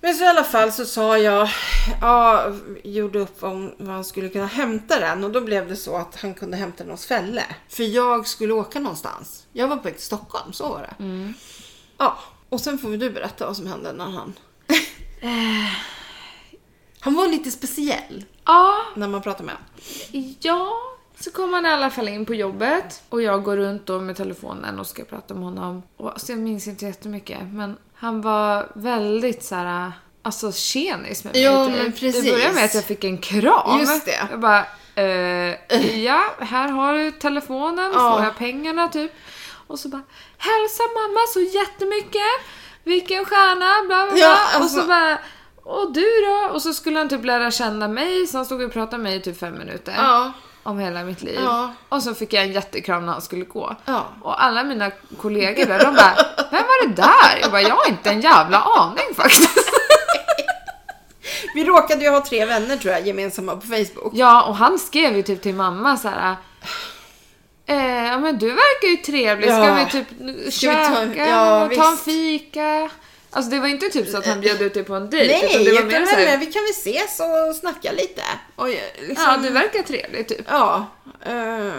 [SPEAKER 3] Men så i alla fall så sa jag, ja, gjorde upp om vad han skulle kunna hämta den och då blev det så att han kunde hämta den hos Fälle. För jag skulle åka någonstans. Jag var på väg till Stockholm, så var det. Ja, och sen får väl du berätta vad som hände när han... Eh. han var lite speciell
[SPEAKER 2] Ja,
[SPEAKER 3] när man pratade med honom.
[SPEAKER 2] ja. Så kom han i alla fall in på jobbet och jag går runt då med telefonen och ska prata med honom. Och alltså, jag minns inte jättemycket men han var väldigt så här, alltså tjenis med mig. typ.
[SPEAKER 3] Ja, men precis.
[SPEAKER 2] Det började med att jag fick en kram.
[SPEAKER 3] Just det.
[SPEAKER 2] Jag bara, eh, ja, här har du telefonen,
[SPEAKER 3] Ja.
[SPEAKER 2] får jag pengarna typ. Och så bara, hälsa mamma så jättemycket, vilken stjärna, bla bla bla.
[SPEAKER 3] Ja, alltså.
[SPEAKER 2] Och så bara, och du då? Och så skulle han typ lära känna mig, så han stod och pratade med mig i typ fem minuter.
[SPEAKER 3] Ja.
[SPEAKER 2] Om hela mitt liv.
[SPEAKER 3] Ja.
[SPEAKER 2] Och så fick jag en jättekram när han skulle gå.
[SPEAKER 3] Ja.
[SPEAKER 2] Och alla mina kollegor där, de bara, vem var det där? Jag bara, jag har inte en jävla aning faktiskt.
[SPEAKER 3] Vi råkade ju ha tre vänner tror jag, gemensamma på Facebook.
[SPEAKER 2] Ja, och han skrev ju typ till mamma så här. Eh, ja men du verkar ju trevlig, ska
[SPEAKER 3] Ja.
[SPEAKER 2] vi typ
[SPEAKER 3] Ska vi
[SPEAKER 2] käka,
[SPEAKER 3] ta
[SPEAKER 2] ta,
[SPEAKER 3] en- ja,
[SPEAKER 2] ta en
[SPEAKER 3] visst.
[SPEAKER 2] fika? Alltså det var inte typ så att han bjöd ut dig på en dejt. utan
[SPEAKER 3] Nej,
[SPEAKER 2] det var
[SPEAKER 3] utan
[SPEAKER 2] mer så
[SPEAKER 3] men,
[SPEAKER 2] här,
[SPEAKER 3] vi kan väl ses och snacka lite. Och, jag- liksom,
[SPEAKER 2] ja du verkar trevlig typ.
[SPEAKER 3] Ja, eh,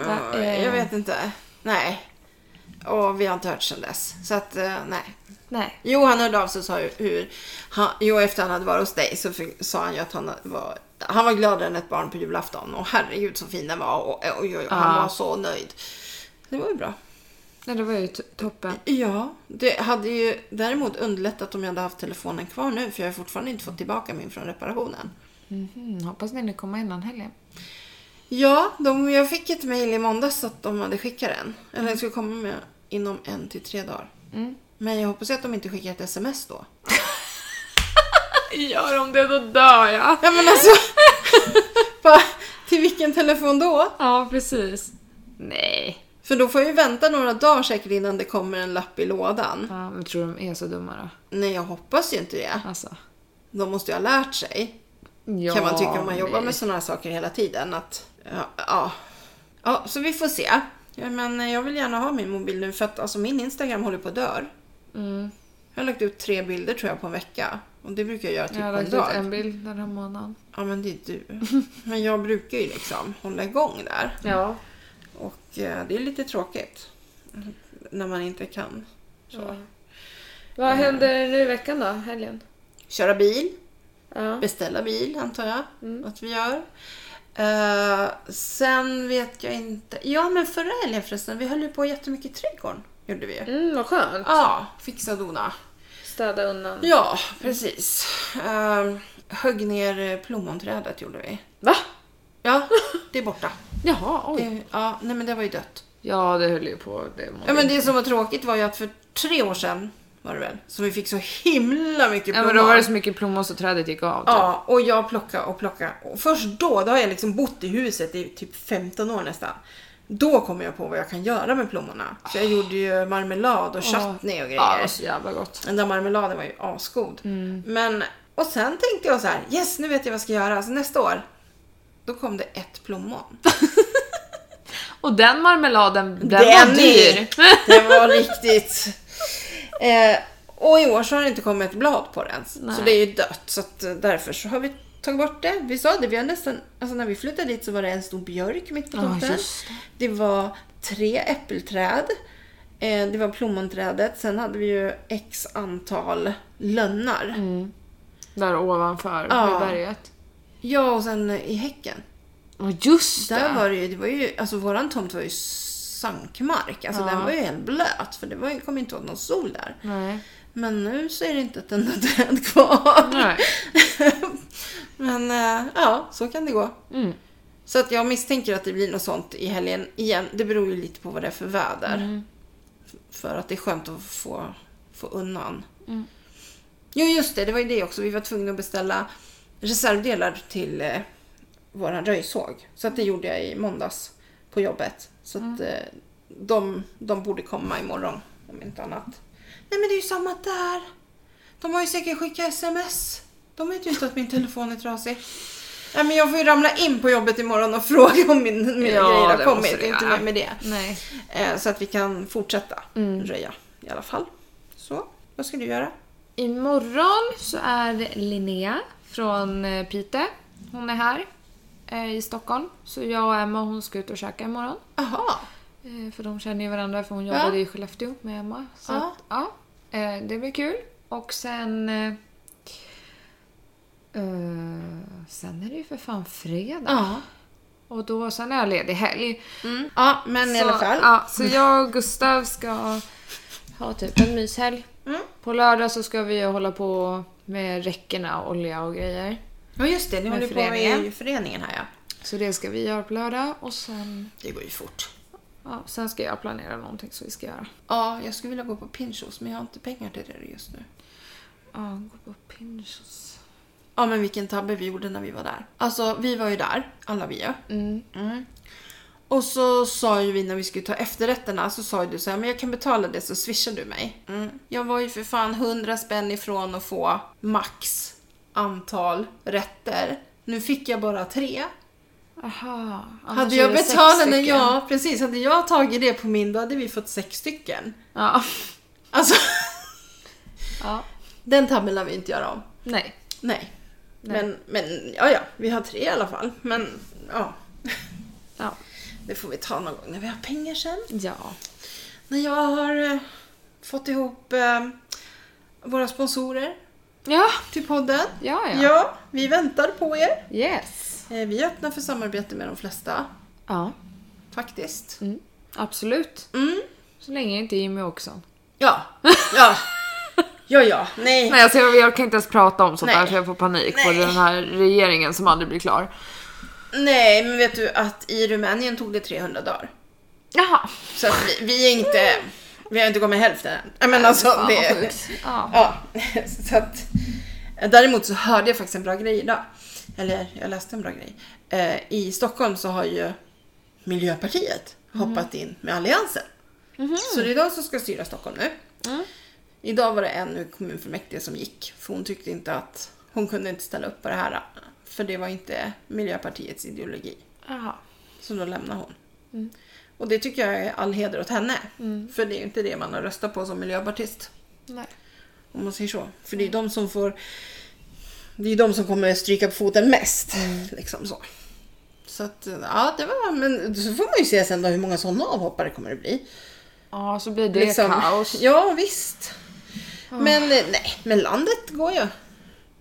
[SPEAKER 2] Va- eh.
[SPEAKER 3] jag vet inte. Nej. Och vi har inte hört sedan dess. Så att, eh, nej.
[SPEAKER 2] Nej.
[SPEAKER 3] Jo, han hörde av sig och sa ju hur... Han, jo, efter han hade varit hos dig så fick, sa han ju att han var, han var gladare än ett barn på julafton. Och herregud så fin den var. Och, och, oj, oj, han
[SPEAKER 2] Ja.
[SPEAKER 3] var så nöjd. Det var ju bra.
[SPEAKER 2] Nej, det var ju to- toppen.
[SPEAKER 3] Ja, det hade ju däremot underlättat om jag hade haft telefonen kvar nu. För jag har fortfarande inte fått tillbaka min från reparationen.
[SPEAKER 2] Mm, hoppas ni hinner komma innan helgen.
[SPEAKER 3] Ja, de, jag fick ett mejl i måndags att de hade skickat den. Eller den skulle komma med inom en till tre dagar. Men jag hoppas ju att de inte skickar ett sms då.
[SPEAKER 2] Gör de det då dör jag.
[SPEAKER 3] Ja men alltså, bara, till vilken telefon då?
[SPEAKER 2] Ja precis. Nej.
[SPEAKER 3] För då får jag ju vänta några dagar säkert innan det kommer en lapp i lådan.
[SPEAKER 2] Ja, men tror de är så dumma då?
[SPEAKER 3] Nej, jag hoppas ju inte det.
[SPEAKER 2] Alltså.
[SPEAKER 3] De måste ju ha lärt sig.
[SPEAKER 2] Ja,
[SPEAKER 3] kan man tycka om man jobbar
[SPEAKER 2] nej.
[SPEAKER 3] med sådana här saker hela tiden. Att, ja, ja. ja, så vi får se. Ja, men jag vill gärna ha min mobil nu för att alltså, min Instagram håller på att dö.
[SPEAKER 2] Mm.
[SPEAKER 3] Jag har lagt ut tre bilder tror jag på en vecka. Och det brukar jag göra typ
[SPEAKER 2] Jag har
[SPEAKER 3] på en
[SPEAKER 2] lagt ut
[SPEAKER 3] dag.
[SPEAKER 2] en bild den här månaden.
[SPEAKER 3] Ja men det är du. Men jag brukar ju liksom hålla igång där.
[SPEAKER 2] Ja.
[SPEAKER 3] Och eh, det är lite tråkigt. När man inte kan så.
[SPEAKER 2] Vad händer nu i veckan då? Helgen?
[SPEAKER 3] köra bil,
[SPEAKER 2] Ja.
[SPEAKER 3] beställa bil antar jag
[SPEAKER 2] Mm.
[SPEAKER 3] att vi gör. Eh, sen vet jag inte. Ja men förra helgen förresten, vi höll ju på jättemycket i trädgården. Gjorde vi.
[SPEAKER 2] Mm, vad skönt.
[SPEAKER 3] Ja, fixa och dona.
[SPEAKER 2] Städa undan.
[SPEAKER 3] Ja, precis. Eh, högg ner eh, plommonträdet gjorde vi.
[SPEAKER 2] Va?
[SPEAKER 3] Ja, det är borta.
[SPEAKER 2] Jaha, oj.
[SPEAKER 3] Det, ja, nej men det var ju dött.
[SPEAKER 2] Ja, det höll ju på. Det mådde
[SPEAKER 3] Ja, men det som var tråkigt var ju att för tre år sedan var det väl, som vi fick så himla mycket
[SPEAKER 2] ja, men då var det så mycket plommon så trädet gick av. typ.
[SPEAKER 3] Ja, och jag plockade och plockade. Och först då, då har jag liksom bott i huset i typ 15 år nästan. Då kom jag på vad jag kan göra med plommonerna. Så jag gjorde ju marmelad och chutney och
[SPEAKER 2] Ja, det var
[SPEAKER 3] grejer.
[SPEAKER 2] så jävla gott.
[SPEAKER 3] Den där marmeladen var ju asgod. Men, och sen tänkte jag så här, yes nu vet jag vad jag ska göra. Så nästa år, då kom det ett plommon.
[SPEAKER 2] Och den marmeladen, den,
[SPEAKER 3] Den
[SPEAKER 2] var
[SPEAKER 3] är-
[SPEAKER 2] dyr.
[SPEAKER 3] Det var riktigt. Eh, och i år så har det inte kommit ett blad på det ens.
[SPEAKER 2] Nej.
[SPEAKER 3] Så det är ju dött. Så att eh, därför så har vi tagit bort det. Vi sa det, vi har nästan, alltså när vi flyttade dit så var det en stor björk mitt på
[SPEAKER 2] Ja,
[SPEAKER 3] tomten.
[SPEAKER 2] just
[SPEAKER 3] det. var tre äppelträd. Eh, det var plommonträdet. Sen hade vi ju x antal lönnar.
[SPEAKER 2] Mm. Där ovanför
[SPEAKER 3] Ja.
[SPEAKER 2] i berget.
[SPEAKER 3] Ja, och sen eh, i häcken.
[SPEAKER 2] Ja, just det.
[SPEAKER 3] Där var det ju, det var ju, alltså våran tomt var ju sankmark. Alltså
[SPEAKER 2] Ja.
[SPEAKER 3] den var ju helt blöt för det var, ju- kom ju inte åt någon sol där.
[SPEAKER 2] Nej.
[SPEAKER 3] Men nu så är det inte ett enda träd kvar.
[SPEAKER 2] Nej.
[SPEAKER 3] Men eh, ja, så kan det gå.
[SPEAKER 2] Mm.
[SPEAKER 3] Så att jag misstänker att det blir något sånt i helgen igen. Det beror ju lite på vad det är för väder. F- För att det är skönt att få, få undan.
[SPEAKER 2] Mm.
[SPEAKER 3] Jo, just det. Det var ju det också. Vi var tvungna att beställa reservdelar till eh, våran röjsåg. Så att det gjorde jag i måndags på jobbet. Så
[SPEAKER 2] Mm.
[SPEAKER 3] att eh, de, de borde komma imorgon om inte annat. Nej, men det är ju samma där. De har ju säkert skickat sms. De vet ju inte att min telefon är trasig. Nej, men jag får ju ramla in på jobbet imorgon och fråga om min, mina
[SPEAKER 2] Ja,
[SPEAKER 3] grejer
[SPEAKER 2] det
[SPEAKER 3] har kommit.
[SPEAKER 2] måste
[SPEAKER 3] Det
[SPEAKER 2] du
[SPEAKER 3] är inte
[SPEAKER 2] göra.
[SPEAKER 3] med, med det.
[SPEAKER 2] Nej.
[SPEAKER 3] Eh, så att vi kan fortsätta röja i alla fall. Så, vad ska du göra?
[SPEAKER 2] Imorgon så är Linnea från eh, Piteå. Hon är här eh, i Stockholm. Så jag och Emma hon ska ut och käka imorgon.
[SPEAKER 3] Aha.
[SPEAKER 2] Eh, För de känner ju varandra för hon jobbade i Skellefteå med Emma. Så
[SPEAKER 3] Ja.
[SPEAKER 2] Att, ja, eh, det blir kul. Och sen... eh, eh, sen är det ju för fan fredag.
[SPEAKER 3] Ja.
[SPEAKER 2] Och då, sen är jag ledig helg.
[SPEAKER 3] Mm. Ja, men i
[SPEAKER 2] så,
[SPEAKER 3] alla fall.
[SPEAKER 2] Ja, så jag och Gustav ska ha typ en myshelg.
[SPEAKER 3] Mm.
[SPEAKER 2] På lördag så ska vi hålla på med räckena och olja och grejer.
[SPEAKER 3] Ja, just det. Ni
[SPEAKER 2] Med
[SPEAKER 3] håller på
[SPEAKER 2] föreningen.
[SPEAKER 3] med föreningen här ja.
[SPEAKER 2] Så det ska vi göra på lördag och sen,
[SPEAKER 3] Det går ju fort.
[SPEAKER 2] ja, sen ska jag planera någonting som vi ska göra.
[SPEAKER 3] Ja, jag skulle vilja gå på Pinchos men jag har inte pengar till det just nu.
[SPEAKER 2] Ja, gå på Pinchos.
[SPEAKER 3] Ja, men vilken tabbe vi gjorde när vi var där. Alltså, vi var ju där, alla vi ju.
[SPEAKER 2] Mm.
[SPEAKER 3] Och så sa ju vi när vi skulle ta efterrätterna så sa ju du så här, men jag kan betala det så swishar du mig. Mm. Jag var ju för fan 100 spänn ifrån att få max antal rätter. Nu fick jag bara tre.
[SPEAKER 2] Aha. annars
[SPEAKER 3] Hade
[SPEAKER 2] är
[SPEAKER 3] jag
[SPEAKER 2] det sex
[SPEAKER 3] betalat när
[SPEAKER 2] stycken.
[SPEAKER 3] ja, precis. Hade jag tagit det på min, då hade vi fått sex stycken.
[SPEAKER 2] Ja.
[SPEAKER 3] Alltså,
[SPEAKER 2] ja.
[SPEAKER 3] den tabellen lär vi inte göra om.
[SPEAKER 2] Nej.
[SPEAKER 3] Nej.
[SPEAKER 2] Nej.
[SPEAKER 3] Men, men ja, ja, vi har tre i alla fall. Men ja,
[SPEAKER 2] Ja.
[SPEAKER 3] det får vi ta någon gång när vi har pengar sen.
[SPEAKER 2] Ja.
[SPEAKER 3] När jag har eh, fått ihop eh, våra sponsorer
[SPEAKER 2] Ja.
[SPEAKER 3] till podden.
[SPEAKER 2] Ja, ja.
[SPEAKER 3] ja, vi väntar på er.
[SPEAKER 2] Yes.
[SPEAKER 3] Eh, vi är öppna för samarbete med de flesta,
[SPEAKER 2] Ja.
[SPEAKER 3] faktiskt.
[SPEAKER 2] Mm. Absolut.
[SPEAKER 3] Mm.
[SPEAKER 2] Så länge inte Jimmy också.
[SPEAKER 3] Ja, ja, ja, ja, nej.
[SPEAKER 2] Nej, alltså jag, jag kan inte ens prata om sånt
[SPEAKER 3] Nej.
[SPEAKER 2] där för jag får panik på
[SPEAKER 3] Nej.
[SPEAKER 2] den här regeringen som aldrig blir klar.
[SPEAKER 3] nej, men vet du att i Rumänien tog det 300 dagar.
[SPEAKER 2] Jaha.
[SPEAKER 3] Så att vi, vi är inte, vi har inte kommit hälften än. Nej, Men alltså,
[SPEAKER 2] Fan, vad
[SPEAKER 3] det,
[SPEAKER 2] sjukt. Ja.
[SPEAKER 3] Ja, så att, däremot så hörde jag faktiskt en bra grej idag. Eller jag läste en bra grej. Eh, I Stockholm så har ju Miljöpartiet hoppat in med Alliansen. Så det är de som ska styra Stockholm nu.
[SPEAKER 2] Mm.
[SPEAKER 3] Idag var det en ur kommunfullmäktige som gick. För hon tyckte inte att hon kunde inte ställa upp på det här. För det var inte Miljöpartiets ideologi.
[SPEAKER 2] Jaha.
[SPEAKER 3] Så då lämnar hon. Och det tycker jag är all heder åt henne. För det är ju inte det man har röstat på som miljöpartist.
[SPEAKER 2] Nej.
[SPEAKER 3] Om man säger så. För det
[SPEAKER 2] Mm.
[SPEAKER 3] är ju de som får... Det är ju de som kommer stryka på foten mest.
[SPEAKER 2] Mm.
[SPEAKER 3] Liksom så. Så att, ja det var... Men så får man ju se sen då hur många sådana avhoppare kommer det bli. Liksom.
[SPEAKER 2] Ja, så blir det kaos. Ah.
[SPEAKER 3] Ja, visst. Men eh, nej, men landet går ju.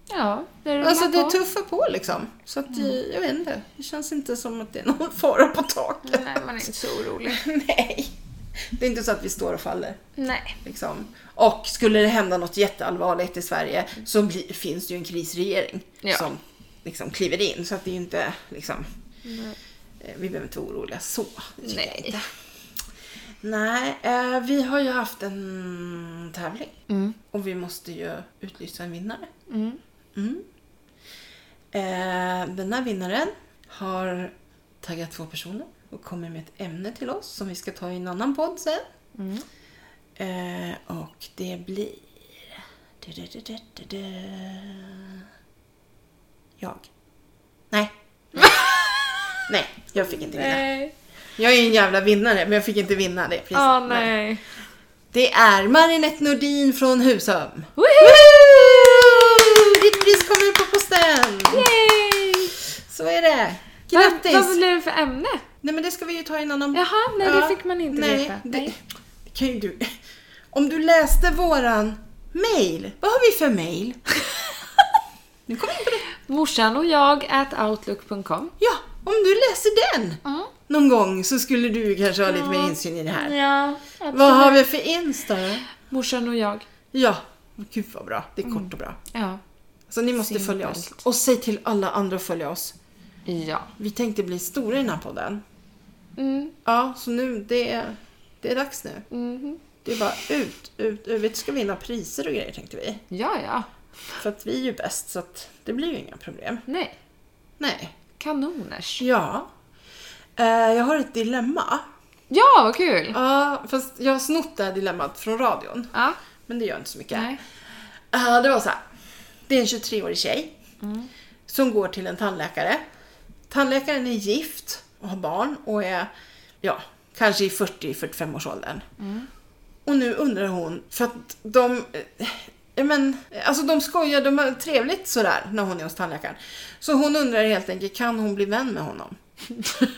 [SPEAKER 2] Ja, det rullar
[SPEAKER 3] Alltså det
[SPEAKER 2] på. Mm.
[SPEAKER 3] tuffar på liksom. Så att eh, jag vet inte. Det känns inte som att det är någon fara på taket.
[SPEAKER 2] Nej, man är inte så orolig.
[SPEAKER 3] nej. Det är inte så att vi står och faller.
[SPEAKER 2] Nej.
[SPEAKER 3] Liksom. Och skulle det hända något jätteallvarligt i Sverige så bli, finns det ju en krisregering
[SPEAKER 2] Ja.
[SPEAKER 3] som liksom kliver in. Så att det är ju inte liksom,
[SPEAKER 2] Nej.
[SPEAKER 3] eh, vi behöver inte vara oroliga så. det tycker jag
[SPEAKER 2] Nej.
[SPEAKER 3] Inte. Nej, eh, vi har ju haft en tävling.
[SPEAKER 2] Mm.
[SPEAKER 3] Och vi måste ju utlysa en vinnare.
[SPEAKER 2] Mm.
[SPEAKER 3] Mm. Eh, den här vinnaren har taggat två personer och kommer med ett ämne till oss som vi ska ta i en annan podd sen.
[SPEAKER 2] Mm.
[SPEAKER 3] Eh, och det blir... Du, du, du, du, du, du. Jag. Nej. nej, jag fick inte vinna.
[SPEAKER 2] Nej.
[SPEAKER 3] Jag är ju en jävla vinnare, men jag fick inte vinna det priset.
[SPEAKER 2] Ah, nej.
[SPEAKER 3] Det är Marinette Nordin från Husum.
[SPEAKER 2] Woho!
[SPEAKER 3] Woo! Ditt pris kommer på posten!
[SPEAKER 2] Yay!
[SPEAKER 3] Så är det.
[SPEAKER 2] Vad, vad
[SPEAKER 3] Grattis!
[SPEAKER 2] blev det för ämne?
[SPEAKER 3] Nej men det ska vi ju ta i en annan...
[SPEAKER 2] Jaha, nej
[SPEAKER 3] Ja,
[SPEAKER 2] det fick man inte
[SPEAKER 3] nej,
[SPEAKER 2] veta.
[SPEAKER 3] Det,
[SPEAKER 2] Nej.
[SPEAKER 3] det kan ju du... Om du läste våran mail. Vad har vi för mail? nu kom vi in på det.
[SPEAKER 2] Morsan och jag at outlook.com.
[SPEAKER 3] Ja, om du läser den
[SPEAKER 2] Mm.
[SPEAKER 3] någon gång så skulle du kanske ha lite mer insyn i det här.
[SPEAKER 2] Ja,
[SPEAKER 3] Vad har vi för Insta då?
[SPEAKER 2] Morsan och jag.
[SPEAKER 3] Ja, gud vad bra. Det är kort och bra.
[SPEAKER 2] Ja.
[SPEAKER 3] Så ni måste
[SPEAKER 2] Simpelt.
[SPEAKER 3] följa oss. Och säg till alla andra att följa oss.
[SPEAKER 2] Ja.
[SPEAKER 3] Vi tänkte bli stora i den här podden.
[SPEAKER 2] Mm.
[SPEAKER 3] Ja, så nu, det är, det är dags nu.
[SPEAKER 2] Mhm.
[SPEAKER 3] Det är bara ut, ut, ut. Vi ska vinna priser och grejer tänkte vi.
[SPEAKER 2] Ja, ja.
[SPEAKER 3] För att vi är ju bäst så att det blir ju inga problem.
[SPEAKER 2] Nej.
[SPEAKER 3] Nej.
[SPEAKER 2] Kanoners.
[SPEAKER 3] Ja. Eh, jag har ett dilemma.
[SPEAKER 2] Ja, vad kul!
[SPEAKER 3] Ja, fast jag har snott det här dilemmat från radion.
[SPEAKER 2] Ja.
[SPEAKER 3] Men det gör inte så mycket.
[SPEAKER 2] Nej.
[SPEAKER 3] Ja, det var så här. Det är en 23-årig tjej som går till en tandläkare. Tandläkaren är gift och har barn och är, ja, kanske i 40-45 års åldern. Och nu undrar hon, för att de, eh, ja men, alltså de skojar, de har trevligt sådär när hon är hos tandläkaren. Så hon undrar helt enkelt, kan hon bli vän med honom?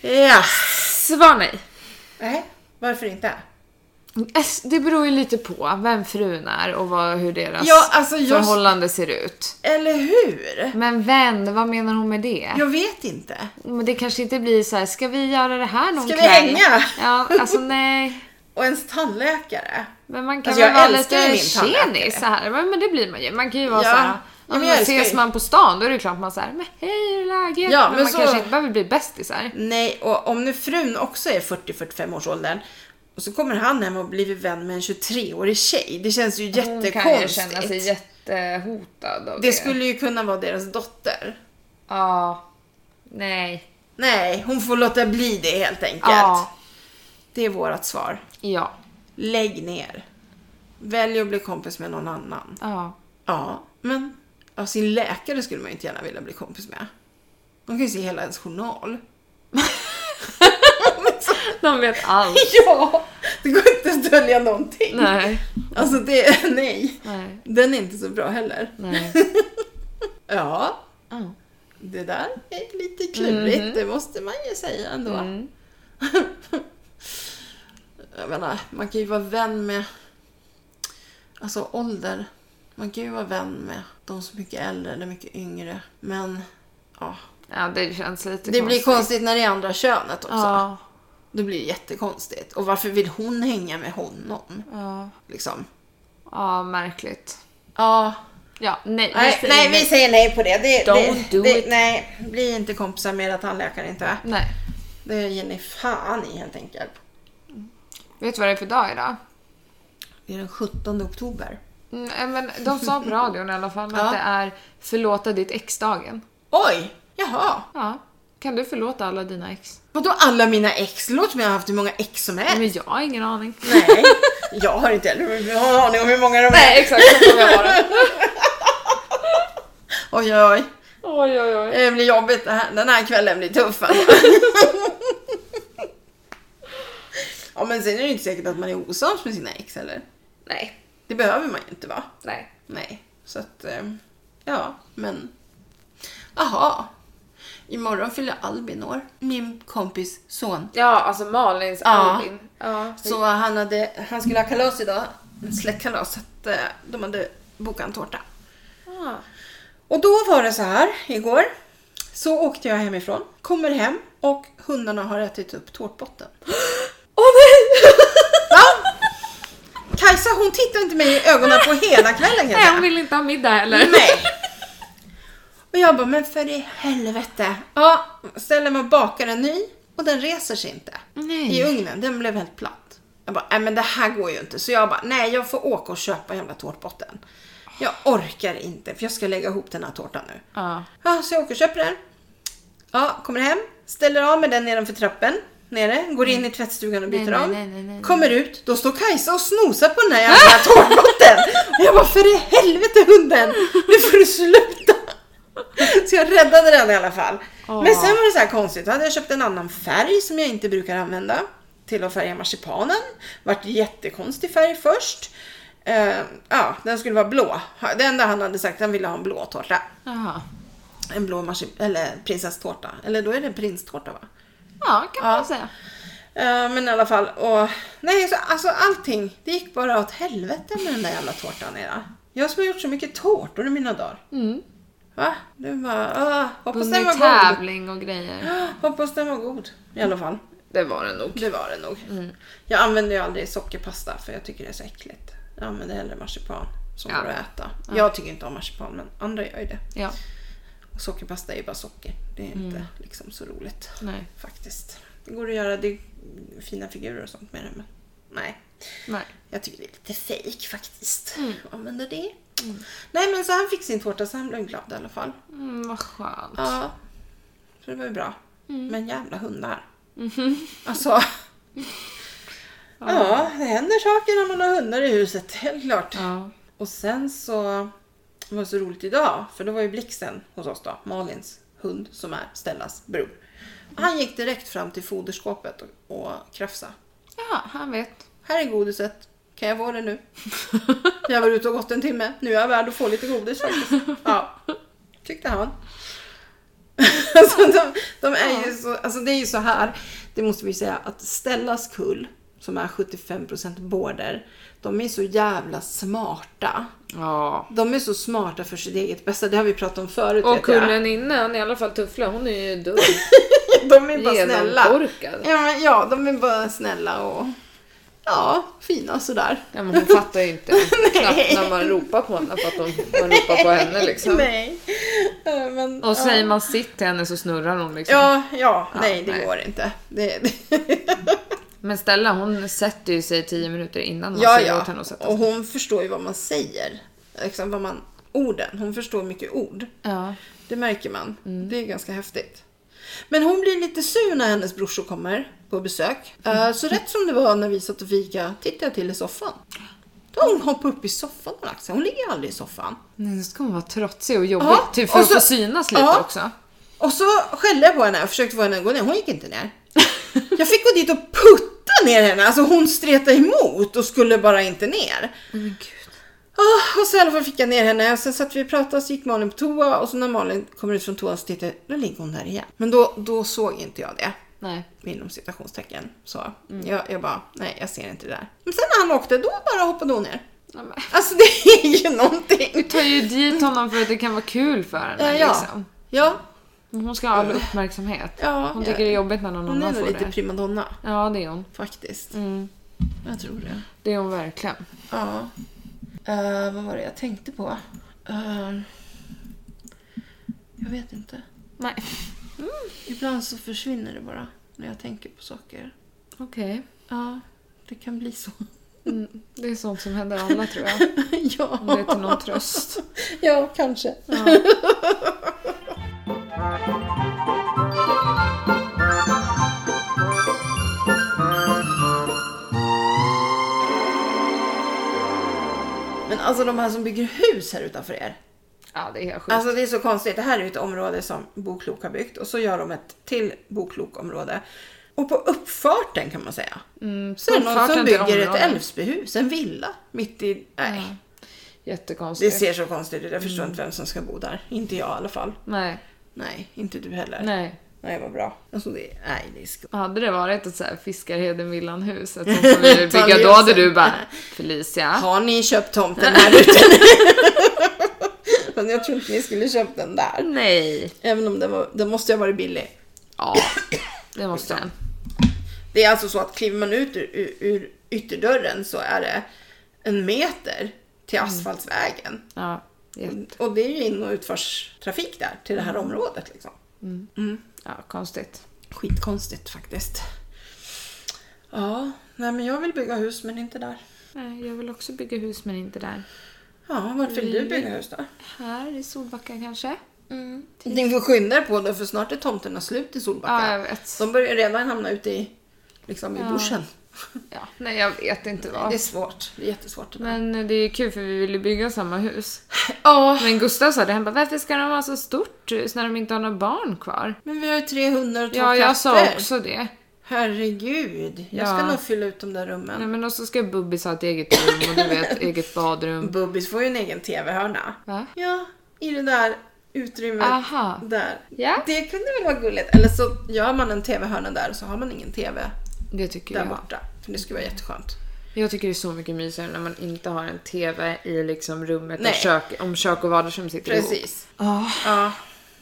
[SPEAKER 3] ja.
[SPEAKER 2] Svar nej.
[SPEAKER 3] Nej, varför inte?
[SPEAKER 2] S- Det beror ju lite på vem frun är och vad, hur deras
[SPEAKER 3] Ja, alltså jag-
[SPEAKER 2] förhållande ser ut.
[SPEAKER 3] Eller hur?
[SPEAKER 2] Men vän, vad menar hon med det?
[SPEAKER 3] Jag vet inte.
[SPEAKER 2] Men det kanske inte blir så här, ska vi göra det här någon
[SPEAKER 3] Ska vi
[SPEAKER 2] kväll?
[SPEAKER 3] hänga?
[SPEAKER 2] Ja, alltså nej.
[SPEAKER 3] Och ens tandläkare.
[SPEAKER 2] Men man kan
[SPEAKER 3] Alltså,
[SPEAKER 2] väl
[SPEAKER 3] jag
[SPEAKER 2] vara
[SPEAKER 3] älskar ju
[SPEAKER 2] lite
[SPEAKER 3] min tandläkare.
[SPEAKER 2] tjenis så här. Men men det blir man ju. Man kan ju vara
[SPEAKER 3] Ja.
[SPEAKER 2] så här.
[SPEAKER 3] Ja,
[SPEAKER 2] Ja,
[SPEAKER 3] men
[SPEAKER 2] men
[SPEAKER 3] jag älskar
[SPEAKER 2] ses
[SPEAKER 3] ju-
[SPEAKER 2] man på stan då är det klart man säger men hej hur är läget?
[SPEAKER 3] Ja,
[SPEAKER 2] men,
[SPEAKER 3] men
[SPEAKER 2] man
[SPEAKER 3] så-
[SPEAKER 2] kanske inte behöver bli bästisar.
[SPEAKER 3] Nej, och om nu frun också är 40-45 års åldern och så kommer han hem och blivit vän med en 23-årig tjej. Det känns ju
[SPEAKER 2] Hon kan ju känna sig
[SPEAKER 3] jättekonstigt.
[SPEAKER 2] jättehotad av det.
[SPEAKER 3] det skulle ju kunna vara deras dotter.
[SPEAKER 2] Ja. Nej.
[SPEAKER 3] Nej, hon får låta bli det helt enkelt.
[SPEAKER 2] Ja.
[SPEAKER 3] Det är vårt svar.
[SPEAKER 2] Ja.
[SPEAKER 3] Lägg ner. Välj att bli kompis med någon annan.
[SPEAKER 2] Ja.
[SPEAKER 3] Ja, men ja, sin läkare skulle man ju inte gärna vilja bli kompis med. De kan ju se hela ens journal.
[SPEAKER 2] De vet allt.
[SPEAKER 3] Ja! Det går inte att dölja någonting.
[SPEAKER 2] Nej.
[SPEAKER 3] Alltså det, nej.
[SPEAKER 2] Nej.
[SPEAKER 3] Den är inte så bra heller.
[SPEAKER 2] Nej.
[SPEAKER 3] Ja,
[SPEAKER 2] Ja. Mhm.
[SPEAKER 3] det där är lite klurigt, det måste man ju säga ändå.
[SPEAKER 2] Mm.
[SPEAKER 3] Jag menar, man kan ju vara vän med, alltså ålder. Man kan ju vara vän med de som är mycket äldre eller mycket yngre. Men ja,
[SPEAKER 2] Ja, det känns lite
[SPEAKER 3] det, blir konstigt när det är andra könet också.
[SPEAKER 2] Ja.
[SPEAKER 3] Det blir jättekonstigt. Och varför vill hon hänga med honom?
[SPEAKER 2] Ja.
[SPEAKER 3] Liksom.
[SPEAKER 2] Ja, märkligt.
[SPEAKER 3] Ja,
[SPEAKER 2] Ja, nej.
[SPEAKER 3] Nej,
[SPEAKER 2] säger
[SPEAKER 3] nej, vi säger nej på det. det
[SPEAKER 2] Don't
[SPEAKER 3] det,
[SPEAKER 2] do
[SPEAKER 3] det,
[SPEAKER 2] it.
[SPEAKER 3] Nej, bli inte kompisar med era tandläkare inte.
[SPEAKER 2] Nej.
[SPEAKER 3] Det ger ni fan i helt enkelt.
[SPEAKER 2] Vet du vad det är för dag idag?
[SPEAKER 3] Det är den 17 oktober.
[SPEAKER 2] Mm, men de sa på radion i alla fall
[SPEAKER 3] Ja.
[SPEAKER 2] att det är förlåta ditt ex-dagen.
[SPEAKER 3] Oj! Jaha!
[SPEAKER 2] Ja. Kan du förlåta alla dina ex?
[SPEAKER 3] Vadå alla mina ex? Låt mig ha haft hur många ex som helst.
[SPEAKER 2] Men jag har ingen aning.
[SPEAKER 3] Nej, jag har inte heller jag har en aning om hur många de är.
[SPEAKER 2] exakt så kommer jag vara.
[SPEAKER 3] Oj, oj, oj.
[SPEAKER 2] Oj, oj, oj.
[SPEAKER 3] Det blir jobbigt det här. Den här kvällen blir tuff alltså. Ja men sen är det ju inte säkert att man är osams med sina ex heller.
[SPEAKER 2] Nej,
[SPEAKER 3] Det behöver man ju inte vara.
[SPEAKER 2] nej.
[SPEAKER 3] Nej, så att eh, ja, men aha. Imorgon fyller Albin år, min kompis son.
[SPEAKER 2] Ja, alltså Malins
[SPEAKER 3] Ja.
[SPEAKER 2] Albin. Ja.
[SPEAKER 3] Så han, hade, han skulle ha kalas idag, en släktkalas, så att eh, de hade bokat en tårta.
[SPEAKER 2] Ah.
[SPEAKER 3] Och då var det så här igår, så åkte jag hemifrån, kommer hem och hundarna har ätit upp tårtbotten.
[SPEAKER 2] Åh nej!
[SPEAKER 3] Ja! Kajsa hon tittar inte mig i ögonen på hela kvällen kan jag
[SPEAKER 2] Nej,
[SPEAKER 3] säga.
[SPEAKER 2] hon vill inte ha middag heller.
[SPEAKER 3] Nej. Och jag bara, men för i helvete. Ja, ställer man bakar en ny Och den reser sig inte.
[SPEAKER 2] Nej.
[SPEAKER 3] I ugnen. Den blev helt platt. Jag bara, nej men det här går ju inte. Så jag bara, nej jag får åka och köpa en jävla tårtbotten. Jag orkar inte för jag ska lägga ihop den här tårtan nu.
[SPEAKER 2] Ja.
[SPEAKER 3] Ja, så jag åker och köper den. Ja, kommer hem, ställer av med den nedanför trappen. Nere, går in i tvättstugan och byter
[SPEAKER 2] Mm. nej,
[SPEAKER 3] om.
[SPEAKER 2] nej, nej, nej, nej.
[SPEAKER 3] Kommer ut, då står Kajsa och snosar på den här jävla tårtbotten. Och jag bara, för i helvete hunden! Nu får du sluta! Så jag räddade den i alla fall.
[SPEAKER 2] Åh.
[SPEAKER 3] Men sen var det så här konstigt, då hade jag köpt en annan färg som jag inte brukar använda. Till att färga marsipanen. Vart jättekonstig färg först. Eh, ja, den skulle vara blå. Det enda han hade sagt, han ville ha en blå tårta.
[SPEAKER 2] Jaha.
[SPEAKER 3] En blå marsi- eller prinsesstårta. Eller då är det prinstårta va?
[SPEAKER 2] Ja, kan man säga.
[SPEAKER 3] Eh, men i alla fall. Och, nej, så, alltså allting. Det gick bara åt helvete med den där jävla tårtan era. Jag som har gjort så mycket tårtor i mina dagar.
[SPEAKER 2] Mm.
[SPEAKER 3] Va? Du bara, ah, hoppas den
[SPEAKER 2] Vunnit
[SPEAKER 3] var god.
[SPEAKER 2] tävling och grejer.
[SPEAKER 3] Ah, Hoppas den var god. I alla fall.
[SPEAKER 2] Det var det nog.
[SPEAKER 3] Det var den nog.
[SPEAKER 2] Mm.
[SPEAKER 3] Jag använder ju aldrig sockerpasta för jag tycker det är så äckligt. Jag använder hellre marsipan som
[SPEAKER 2] Ja.
[SPEAKER 3] går att äta. Jag tycker inte om marsipan men andra gör ju det.
[SPEAKER 2] Ja.
[SPEAKER 3] Och sockerpasta är ju bara socker. Det är inte liksom så roligt.
[SPEAKER 2] Nej.
[SPEAKER 3] Faktiskt. Det går att göra det är fina figurer och sånt med det men nej.
[SPEAKER 2] Nej.
[SPEAKER 3] Jag tycker det är lite fake faktiskt. att Använda det. Nej men så han fick sin tårta så han blev glad i alla fall.
[SPEAKER 2] Mm, vad skönt.
[SPEAKER 3] Ja. Så det var ju bra. Men jävla hundar. Alltså. Ja, det händer saker när man har hundar i huset, helt klart.
[SPEAKER 2] Ja.
[SPEAKER 3] Och sen så det var det så roligt idag, för då var ju Blixten hos oss då, Malins hund som är Stellas bror. Och han gick direkt fram till foderskåpet och, och krafsade.
[SPEAKER 2] ja, han vet.
[SPEAKER 3] Här är godiset, kan jag få det nu? Jag var ute och gått en timme, nu är jag värd att få lite godis faktiskt. Ja, tyckte han. Alltså, de, de är ju så, alltså det är ju så här, det måste vi säga, att Stellas kull, som är 75% border, de är så jävla smarta.
[SPEAKER 2] Ja.
[SPEAKER 3] De är så smarta för sitt eget bästa, det har vi pratat om förut.
[SPEAKER 2] Och
[SPEAKER 3] vet jag.
[SPEAKER 2] kullen innan, i alla fall Tuffla, hon är ju dum.
[SPEAKER 3] de är bara snälla.
[SPEAKER 2] Genomkorkad.
[SPEAKER 3] Ja, men, ja, de är bara snälla och ja, fina sådär.
[SPEAKER 2] Ja, men hon fattar ju inte knappt
[SPEAKER 3] Nej.
[SPEAKER 2] när man ropar på henne för att de- man ropar på henne liksom.
[SPEAKER 3] Nej. Eh, Men,
[SPEAKER 2] Och
[SPEAKER 3] ja.
[SPEAKER 2] säger man sitt till henne så snurrar hon liksom.
[SPEAKER 3] Ja, ja, nej det
[SPEAKER 2] nej.
[SPEAKER 3] går inte. Det, det.
[SPEAKER 2] Men Stella hon sätter ju sig tio minuter innan man
[SPEAKER 3] Ja,
[SPEAKER 2] säger
[SPEAKER 3] ja.
[SPEAKER 2] åt henne att sätta sig.
[SPEAKER 3] Och hon förstår ju vad man säger. Liksom vad man, orden. Hon förstår mycket ord.
[SPEAKER 2] Ja.
[SPEAKER 3] Det märker man. Det är ganska häftigt. Men hon blir lite sur när hennes brorsor kommer på besök. Eh, Så rätt som det var när vi satt och fika tittade jag till i soffan. Då har hon hoppade upp i soffan och lagt sig. Hon ligger aldrig i soffan.
[SPEAKER 2] Nej, nu ska hon vara trotsig och jobbig
[SPEAKER 3] Ja,
[SPEAKER 2] typ för
[SPEAKER 3] och
[SPEAKER 2] att få
[SPEAKER 3] så-
[SPEAKER 2] synas lite
[SPEAKER 3] ja.
[SPEAKER 2] också.
[SPEAKER 3] Och så skällde jag på henne och försökte få henne att gå ner. Hon gick inte ner. Jag fick gå dit och putta ner henne. Alltså hon stretade emot och skulle bara inte ner.
[SPEAKER 2] Men gud.
[SPEAKER 3] Ah, och så i alla fall fick jag ner henne. Sen satt vi och pratade, så gick Malin på toa och så när Malin kommer ut från toan så tittar jag, då ligger hon där igen. Men då, då såg inte jag det.
[SPEAKER 2] Nej.
[SPEAKER 3] Inom citationstecken. Så
[SPEAKER 2] Mm.
[SPEAKER 3] jag, jag bara, nej jag ser inte det där. Men sen när han åkte, då bara hoppade hon ner.
[SPEAKER 2] Nej, men.
[SPEAKER 3] Alltså det är ju någonting.
[SPEAKER 2] Du tar ju dit honom för att det kan vara kul för henne
[SPEAKER 3] ja.
[SPEAKER 2] liksom.
[SPEAKER 3] ja,
[SPEAKER 2] Men Hon ska ha all uppmärksamhet.
[SPEAKER 3] Ja,
[SPEAKER 2] hon
[SPEAKER 3] ja.
[SPEAKER 2] tycker det är jobbigt när någon
[SPEAKER 3] hon är
[SPEAKER 2] annan
[SPEAKER 3] nog
[SPEAKER 2] får
[SPEAKER 3] lite
[SPEAKER 2] det.
[SPEAKER 3] primadonna
[SPEAKER 2] Ja, det är hon.
[SPEAKER 3] faktiskt.
[SPEAKER 2] Mm.
[SPEAKER 3] Jag tror det.
[SPEAKER 2] Det är hon verkligen.
[SPEAKER 3] Ja. Eh, vad var det jag tänkte på? Ehm, jag vet inte.
[SPEAKER 2] Nej.
[SPEAKER 3] Ibland så försvinner det bara när jag tänker på saker.
[SPEAKER 2] Okej.
[SPEAKER 3] Ja, det kan bli så.
[SPEAKER 2] Mm. Det är sånt som händer alla tror jag. Om det är
[SPEAKER 3] ja.
[SPEAKER 2] till någon tröst.
[SPEAKER 3] ja, kanske. Men alltså de här som bygger hus här utanför er.
[SPEAKER 2] Ja, det är helt sjukt.
[SPEAKER 3] Alltså det är så konstigt. Det här är ju ett område som Boklok har byggt och så gör de ett till Boklokområde. Och på uppfarten kan man säga.
[SPEAKER 2] Mm,
[SPEAKER 3] Så är det någon
[SPEAKER 2] uppfarten
[SPEAKER 3] som
[SPEAKER 2] till
[SPEAKER 3] bygger ett
[SPEAKER 2] området.
[SPEAKER 3] Älvsbyhus, en villa mitt i... Nej. Det
[SPEAKER 2] Jättekonstigt.
[SPEAKER 3] ser så Mm. konstigt ut. Jag förstår inte vem som ska bo där. Inte jag i alla fall.
[SPEAKER 2] Nej,
[SPEAKER 3] Nej, inte du heller. Nej,
[SPEAKER 2] nej.
[SPEAKER 3] vad bra. Alltså det, nej, det är skumt.
[SPEAKER 2] Hade det varit ett så här Fiskarheden-villanhus, ett sånt som vi vill bygga, då hade du bara Felicia.
[SPEAKER 3] Har ni köpt tomten här ute? Men jag tror inte ni skulle köpt den där.
[SPEAKER 2] Nej.
[SPEAKER 3] Även om den, var, den måste ju ha varit billig.
[SPEAKER 2] Ja, det måste den.
[SPEAKER 3] Det är alltså så att kliver man ut ur, ur, ur ytterdörren så är det en meter till asfaltsvägen.
[SPEAKER 2] Ja, jätte-
[SPEAKER 3] Och Mm. det är ju in och utfartstrafik där till det här området liksom.
[SPEAKER 2] ja, konstigt.
[SPEAKER 3] Skitkonstigt faktiskt. Ja, nej men jag vill bygga hus men inte där.
[SPEAKER 2] Nej, jag vill också bygga hus men inte där.
[SPEAKER 3] Ja, vart vill du bygga hus då?
[SPEAKER 2] Här i Solbacka kanske? Mm.
[SPEAKER 3] Ni får skynda er på då för snart är tomterna slut
[SPEAKER 2] Ja,
[SPEAKER 3] i
[SPEAKER 2] jag
[SPEAKER 3] Solbacka.
[SPEAKER 2] vet.
[SPEAKER 3] De börjar redan hamna ute i, liksom i
[SPEAKER 2] Ja.
[SPEAKER 3] bushen.
[SPEAKER 2] Ja, nej, jag vet inte vad.
[SPEAKER 3] Det är svårt. Det är jättesvårt. det där.
[SPEAKER 2] Men eh, det är kul för vi ville bygga samma hus.
[SPEAKER 3] Ja,
[SPEAKER 2] Men Gustav sa det, han bara varför ska de ha så stort hus när de inte har några barn kvar?
[SPEAKER 3] men vi har ju tre hundar och två
[SPEAKER 2] Ja, jag sa
[SPEAKER 3] katter.
[SPEAKER 2] också det.
[SPEAKER 3] Herregud,
[SPEAKER 2] Ja.
[SPEAKER 3] jag ska nog fylla ut de där rummen.
[SPEAKER 2] Nej men och så ska Bubbis ha ett eget rum och du vet, eget badrum.
[SPEAKER 3] Bubbis får ju en egen TV-hörna.
[SPEAKER 2] Va?
[SPEAKER 3] Ja, i det där utrymmet
[SPEAKER 2] Aha.
[SPEAKER 3] där.
[SPEAKER 2] Ja.
[SPEAKER 3] Det kunde väl vara gulligt. Eller så gör man en TV-hörna där och så har man ingen TV
[SPEAKER 2] Det tycker
[SPEAKER 3] där
[SPEAKER 2] jag.
[SPEAKER 3] borta. För det skulle vara jätteskönt.
[SPEAKER 2] Jag tycker det är så mycket mysigare när man inte har en TV i liksom rummet
[SPEAKER 3] Nej.
[SPEAKER 2] och kök, om kök och vardagsrum sitter ihop.
[SPEAKER 3] Precis.
[SPEAKER 2] Ja,
[SPEAKER 3] Ja.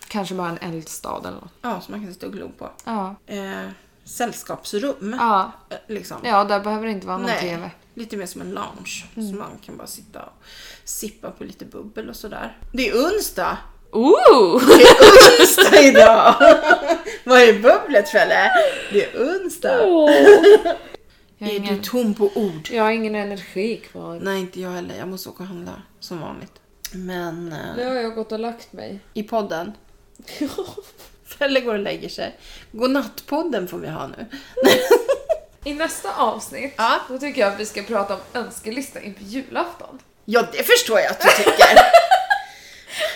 [SPEAKER 2] kanske bara en eldstad eller något.
[SPEAKER 3] ja, som man kan stå och glo på.
[SPEAKER 2] Ja.
[SPEAKER 3] Eh, sällskapsrum.
[SPEAKER 2] Ja.
[SPEAKER 3] Eh, Liksom.
[SPEAKER 2] ja, där behöver det inte vara någon TV. Mm.
[SPEAKER 3] Lite mer som en lounge. Så man kan bara sitta och sippa på lite bubbel och sådär. Det är onsdag!
[SPEAKER 2] Ooh!
[SPEAKER 3] Det är onsdag idag! Vad är bubblet Felle? Det är onsdag!
[SPEAKER 2] Jag, har
[SPEAKER 3] Är du
[SPEAKER 2] ingen,
[SPEAKER 3] tom på ord?
[SPEAKER 2] jag har ingen energi kvar.
[SPEAKER 3] Nej, inte jag heller. Jag måste åka och handla som vanligt. Men eh,
[SPEAKER 2] Nu har jag gått och lagt mig.
[SPEAKER 3] i podden. Felle går och lägger sig. Godnattpodden får vi ha nu.
[SPEAKER 2] I nästa avsnitt,
[SPEAKER 3] Ja.
[SPEAKER 2] då tycker jag att vi ska prata om önskelista inför julafton.
[SPEAKER 3] Ja, det förstår jag att du tycker.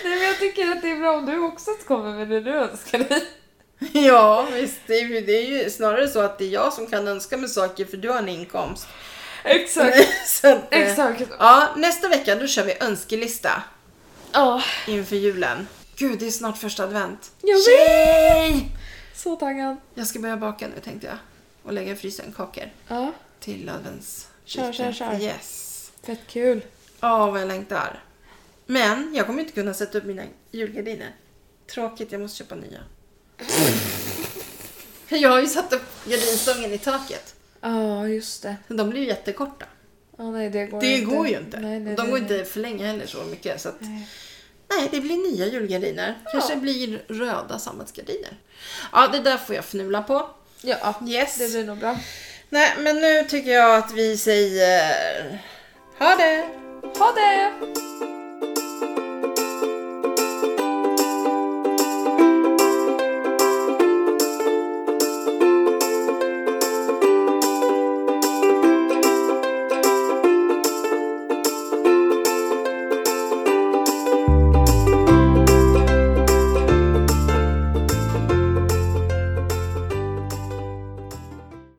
[SPEAKER 2] Nej men jag tycker att det är bra om du också kommer med det du önskar dig.
[SPEAKER 3] Ja, visst. Det är, ju, det är ju snarare så att det är jag som kan önska mig saker för du har en inkomst.
[SPEAKER 2] Exakt.
[SPEAKER 3] så att, eh,
[SPEAKER 2] Exakt.
[SPEAKER 3] Ja, nästa vecka då kör vi önskelista
[SPEAKER 2] Ja,
[SPEAKER 3] inför julen. Gud, det är snart första advent.
[SPEAKER 2] Jag vet.
[SPEAKER 3] Tjej!
[SPEAKER 2] så taggad.
[SPEAKER 3] Jag ska börja baka nu tänkte jag. Och lägga i frysen kakor
[SPEAKER 2] Ja,
[SPEAKER 3] till advents.
[SPEAKER 2] Kör, kör, kör.
[SPEAKER 3] Yes.
[SPEAKER 2] fett kul.
[SPEAKER 3] Åh, vad jag längtar. Men jag kommer inte kunna sätta upp mina julgardiner. Tråkigt, jag måste köpa nya. jag har ju satt upp gardinstången i taket.
[SPEAKER 2] Ja, just det.
[SPEAKER 3] De blir ju jättekorta.
[SPEAKER 2] Ja, nej det går
[SPEAKER 3] Det
[SPEAKER 2] inte.
[SPEAKER 3] går ju inte.
[SPEAKER 2] Nej, nej,
[SPEAKER 3] de
[SPEAKER 2] nej,
[SPEAKER 3] går
[SPEAKER 2] nej.
[SPEAKER 3] inte för länge heller så mycket. Så att,
[SPEAKER 2] Nej.
[SPEAKER 3] nej, det blir nya julgardiner. Kanske blir röda sammetsgardiner. Ja, det där får jag fnula på.
[SPEAKER 2] Ja,
[SPEAKER 3] Yes.
[SPEAKER 2] det blir nog bra.
[SPEAKER 3] Nej, men nu tycker jag att vi säger... Ha det!
[SPEAKER 2] Ha det!